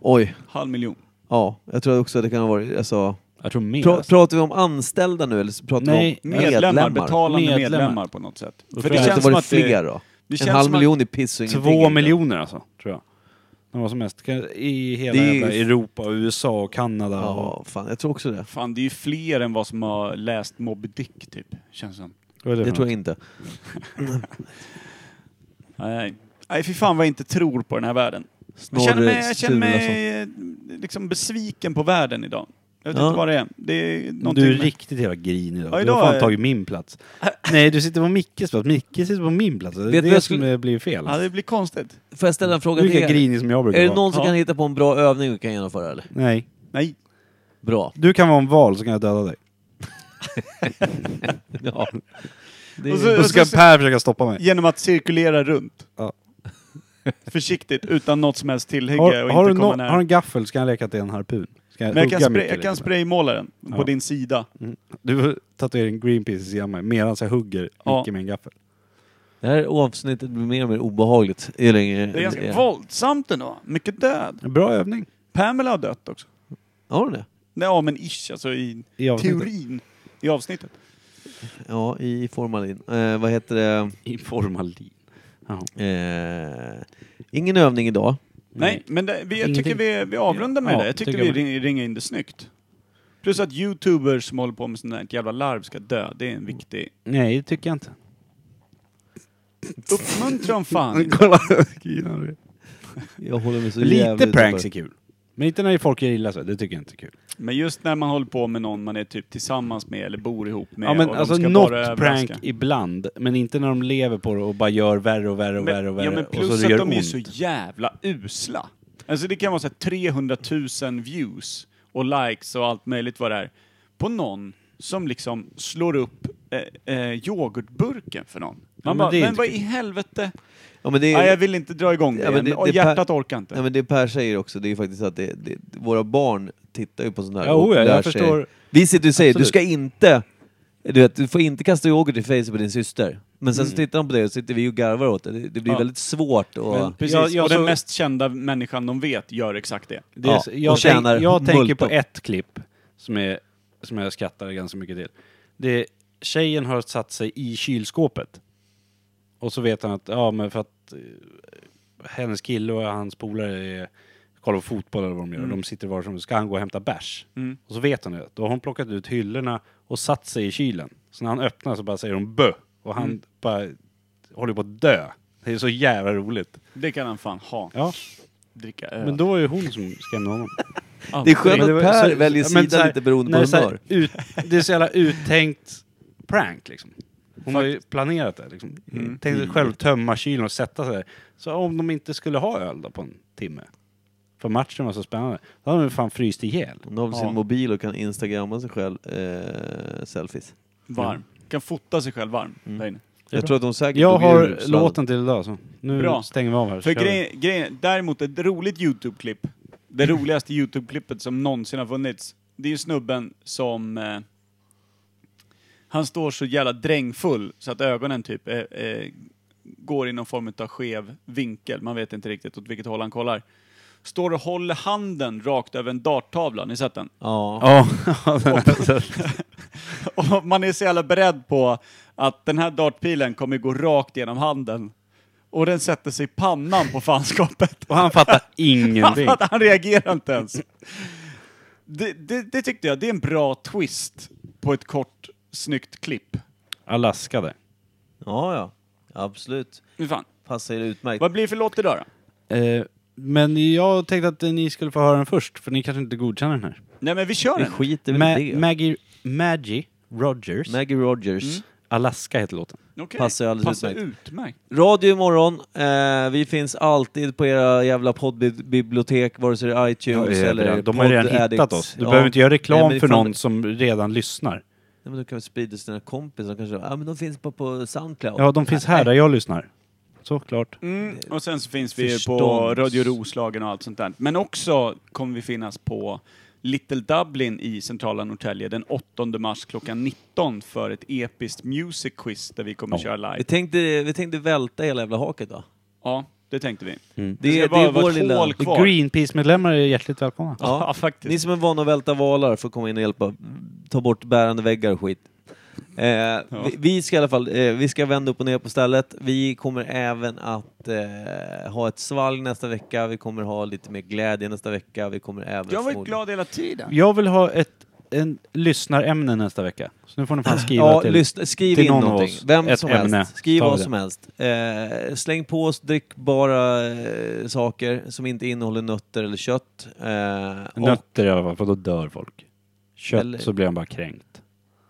Oj,
Halv miljon.
ja, jag tror också att det kan ha varit, alltså,
Jag tror mer.
pra, pratar vi om anställda nu eller så pratar
Nej,
vi om
Medlemmar,
medlemmar?
betalande medlemmar.
Medlemmar.
på något sätt.
Då
För
tror
det
jag
känns
att
som
det var
att det,
fler då?
det
En
känns
halv
som att-
miljon är piss och ingenting.
Två
egentligen.
miljoner alltså, tror jag. De var som mest. Kan- I hela
Det är-
jävla Europa, och USA och Kanada.
Ja,
Och,
fan, jag tror också det.
Fan, det är ju fler än vad som har läst Moby Dick, typ. Känns som.
Vad är
Det
för
tror
något?
jag inte.
Nej, nej fy fan vad jag inte tror på den här världen. Jag känner mig, jag känner mig eh, liksom besviken på världen idag. Jag vet
Ja.
inte vad det är. Det är någonting
Du är
med-
riktigt jävla grin idag.
Ja,
Du
idag
har fan
är-
tagit min plats. Nej, du sitter på Mickes plats. Micke sitter på min plats. Det är
Vet du
det
vad jag
som
skulle-
eh, blir fel.
Ja, det blir konstigt.
Får jag ställa en fråga
du är
till
lika
er?
grinig som jag brukar
Är det
vara.
någon som
Ja.
kan hitta på en bra övning vi kan genomföra eller?
Nej.
Nej. [LAUGHS]
Bra.
Du kan vara en val så kan jag döda dig.
Ja. Det
Och så-
Då ska Per försöka stoppa mig.
Genom att cirkulera runt.
Ja.
Försiktigt, utan något som helst tillhygge
Har,
och
har, du
inte komma
no-
nära.
har du en gaffel så kan jag leka att det är en harpun. Ska
Men jag kan,
hugga
spray,
mycket
jag kan
lite.
spraymåla den på
Ja.
din sida.
Du tatuerar en Greenpeace i sidan mig medan jag hugger
Ja.
Micke med en gaffel.
Det här avsnittet blir mer och mer obehagligt ju längre...
Det är ganska våldsamt ändå. Mycket död.
En bra övning.
Pamela har dött också.
Har du det?
Ja, men ish, alltså i,
I avsnittet.
teorin. I avsnittet.
Ja, i formalin. Eh, vad heter det?
I formalin. Ja.
Eh, ingen övning idag.
Mm. Nej, men det, vi, jag
Mm. Ingenting.
tycker vi, vi avrundar med
Ja,
det. Jag tycker
tycker
vi
jag
ring, ringer in det snyggt. Plus att youtubers som håller på med sånt där jävla larv ska dö. Det är en viktig...
Nej, det tycker jag inte.
Uppmuntran
[LAUGHS]
fan!
Kolla, skriver han det.
[LAUGHS]
Jag håller mig så
Lite
jävligt
pranks
uppe.
är kul. Men inte när folk gör illa sig, det tycker jag inte är kul.
Men just när man håller på med någon man är typ tillsammans med eller bor ihop med
ja men
och
alltså
de ska
något
bara
prank
överraska.
ibland, men inte när de lever på det och bara gör värre och värre och värre och värre.
ja, men plus
och så
att
det gör
de är
ont.
så jävla usla. Alltså det kan vara så här 300 000 views och likes och allt möjligt vad det är. På någon som liksom slår upp eh, eh, yoghurtburken för någon. Man
men
bara,
det är
men
inte
vad
kul."
i helvete?
Ja, men det
Nej, jag vill inte dra igång det,
Ja, men
igen.
det-
Och
det-
Hjärtat orkar inte.
Nej, men det Per säger också, det är ju faktiskt att det, det, våra barn tittar ju på sånt här
Ja,
och
oja, jag
lär
förstår.
sig. Vi sitter och säger,
Absolut.
du ska inte... Du, vet, du får inte kasta yoghurt i face på din syster. Men
Mm.
sen så tittar de på det och sitter vi och garvar åt det. Det, det blir
Ja.
väldigt svårt att...
Men Precis,
Jag- jag
och den
såg-
mest kända människan de vet gör exakt det.
Det är,
Ja,
så- jag,
och tjänar
tänk, jag tänker
multum.
på ett klipp som, är, som jag skrattar ganska mycket till. Det är, tjejen har satt sig i kylskåpet. Och så vet han att, ja men för att eh, hennes kille och hans polare är- kollar på fotboll eller vad de gör.
Mm.
De sitter var som ska han gå och hämta bärs. Och så vet han det. Då har hon plockat ut hyllorna och satt sig i kylen. Så när han öppnar så bara säger hon bö. Och han
Mm.
bara håller på att dö. Det är så jävla roligt.
Det kan han fan ha.
Ja,
Dricka öl.
men då är det hon som skrämde honom.
Allt.
det är skönt
Men det
att
var-
Per
så-
väljer
ja, men
sida
så här,
lite beroende
när
på
det är så här
humör.
Ut, det är så jävla uttänkt prank liksom. Hon har ju planerat det liksom.
Mm.
Tänkte
Mm.
själv tömma kylen och sätta sig där. Så om de inte skulle ha öl då på en timme. För matchen var så spännande. Då hade de ju fan fryst ihjäl.
Hon har
Ja.
sin mobil och kan instagramma sig själv eh, selfies.
Varm. Kan fota sig själv varm
Mm.
där inne.
Jag tror att hon säkert
Jag
tog ur
har
sladden.
låten till idag så. Nu
Bra.
stänger vi av här. så
För
kör vi.
grejen, grejen, däremot ett roligt YouTube-klipp, det
Mm.
roligaste YouTube-klippet som någonsin har funnits, det är ju snubben som... Eh, han står så jävla drängfull så att ögonen typ eh, eh, går i någon form av skev vinkel, man vet inte riktigt åt vilket håll han kollar. Står och håller handen rakt över en darttavla, ni har sett den?
Ja.
Ja, [LAUGHS] den-
[LAUGHS] Och man är så jävla beredd på att den här dartpilen kommer gå rakt genom handen. Och den sätter sig i pannan på fanskapet.
och han fattar
Han, [LAUGHS]
ingenting.
fattar- han reagerar inte ens. Det, det, det tyckte jag, det är en bra twist på ett kort, snyggt klipp.
Alaska där.
ja, ja. Absolut.
Hur fan.
Passar er utmärkt.
Vad blir det för låt idag då?
Eh, men jag tänkte att eh, ni skulle få höra den först, för ni kanske inte godkänner den här.
Nej men vi kör
Vi
den.
skiter väl i
Ma-
det.
Maggie, Maggie Rogers.
Maggie Rogers.
Mm. Alaska heter låten.
Okej.
Passar ju alldeles
Passar
utmärkt.
utmärkt.
Radio imorgon. Eh, vi finns alltid på era jävla poddbibliotek, vare sig det är iTunes eller
De har ju redan
Podd
hittat
Addicts.
oss. Du
Ja.
behöver inte göra reklam
Nej, men
för
fan-
någon som redan lyssnar.
Nej, men då kan vi sprida till sina kompisar. Kanske, ja, men de finns på, på Soundcloud.
Ja, de finns här där jag lyssnar. Såklart.
Mm. Och sen så finns vi på
Förstånds-
Radio Roslagen och allt sånt där. Men också kommer vi finnas på Little Dublin i centrala Norrtälje den 8 mars klockan 19 för ett episkt music quiz där vi kommer köra
Vi
live.
tänkte, vi tänkte välta hela jävla haket då.
Ja, det tänkte vi.
Det,
ska
är-
bara
det är
vara
vår
ett
lilla...
hål kvar.
Greenpeace-medlemmar är hjärtligt välkomna.
[LAUGHS] Ja,
Ja.
faktiskt.
Ni som är vana att välta valar får komma in och hjälpa. Ta bort bärande väggar och skit. Eh, vi, vi ska i alla fall eh, vi ska vända upp och ner på stället. Vi kommer även att eh, ha ett svalg nästa vecka. Vi kommer ha lite mer glädje nästa vecka. Vi kommer även
Jag har varit
förmodligen-
glad hela tiden.
Jag vill ha ett en lyssnarämne nästa vecka. Så nu får ni fan skriva
Ja,
till...
lyssna, skriv
till
in
någon av
någonting.
oss.
Vem
Ett
som
ämne.
helst. Skriv
Tar vi
vad
det.
som helst. Eh, släng på oss drickbara eh, saker som inte innehåller nötter eller kött. Eh, och,
Nötter i alla fall, för då dör folk. Kött
Eller-
så blir han bara kränkt.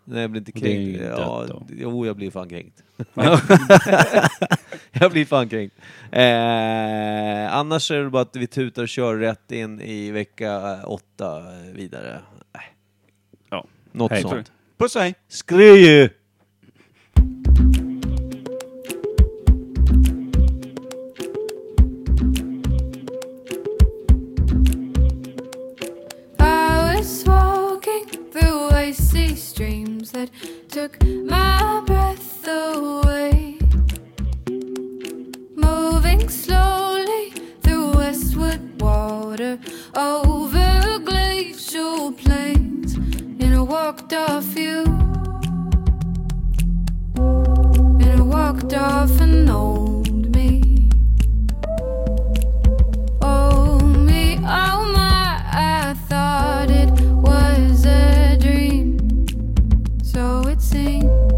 nej, jag blir inte
Och det är
kränkt.
ju dött
Ja,
då.
d- jo, jag blir fan kränkt. [LAUGHS] jag blir fan kränkt. Eh, annars är det bara att vi tutar och kör rätt in i vecka åtta eh, vidare. Eh,
Ja.
Något
Hej.
sånt.
Puss och hej!
Skriv!
I was walking through icy streams that took my breath away. Moving slowly through westward water, over glacial plains, and I walked off you. And I walked off an old me. Oh me, oh my, I thought it was a dream. So it seems. Oh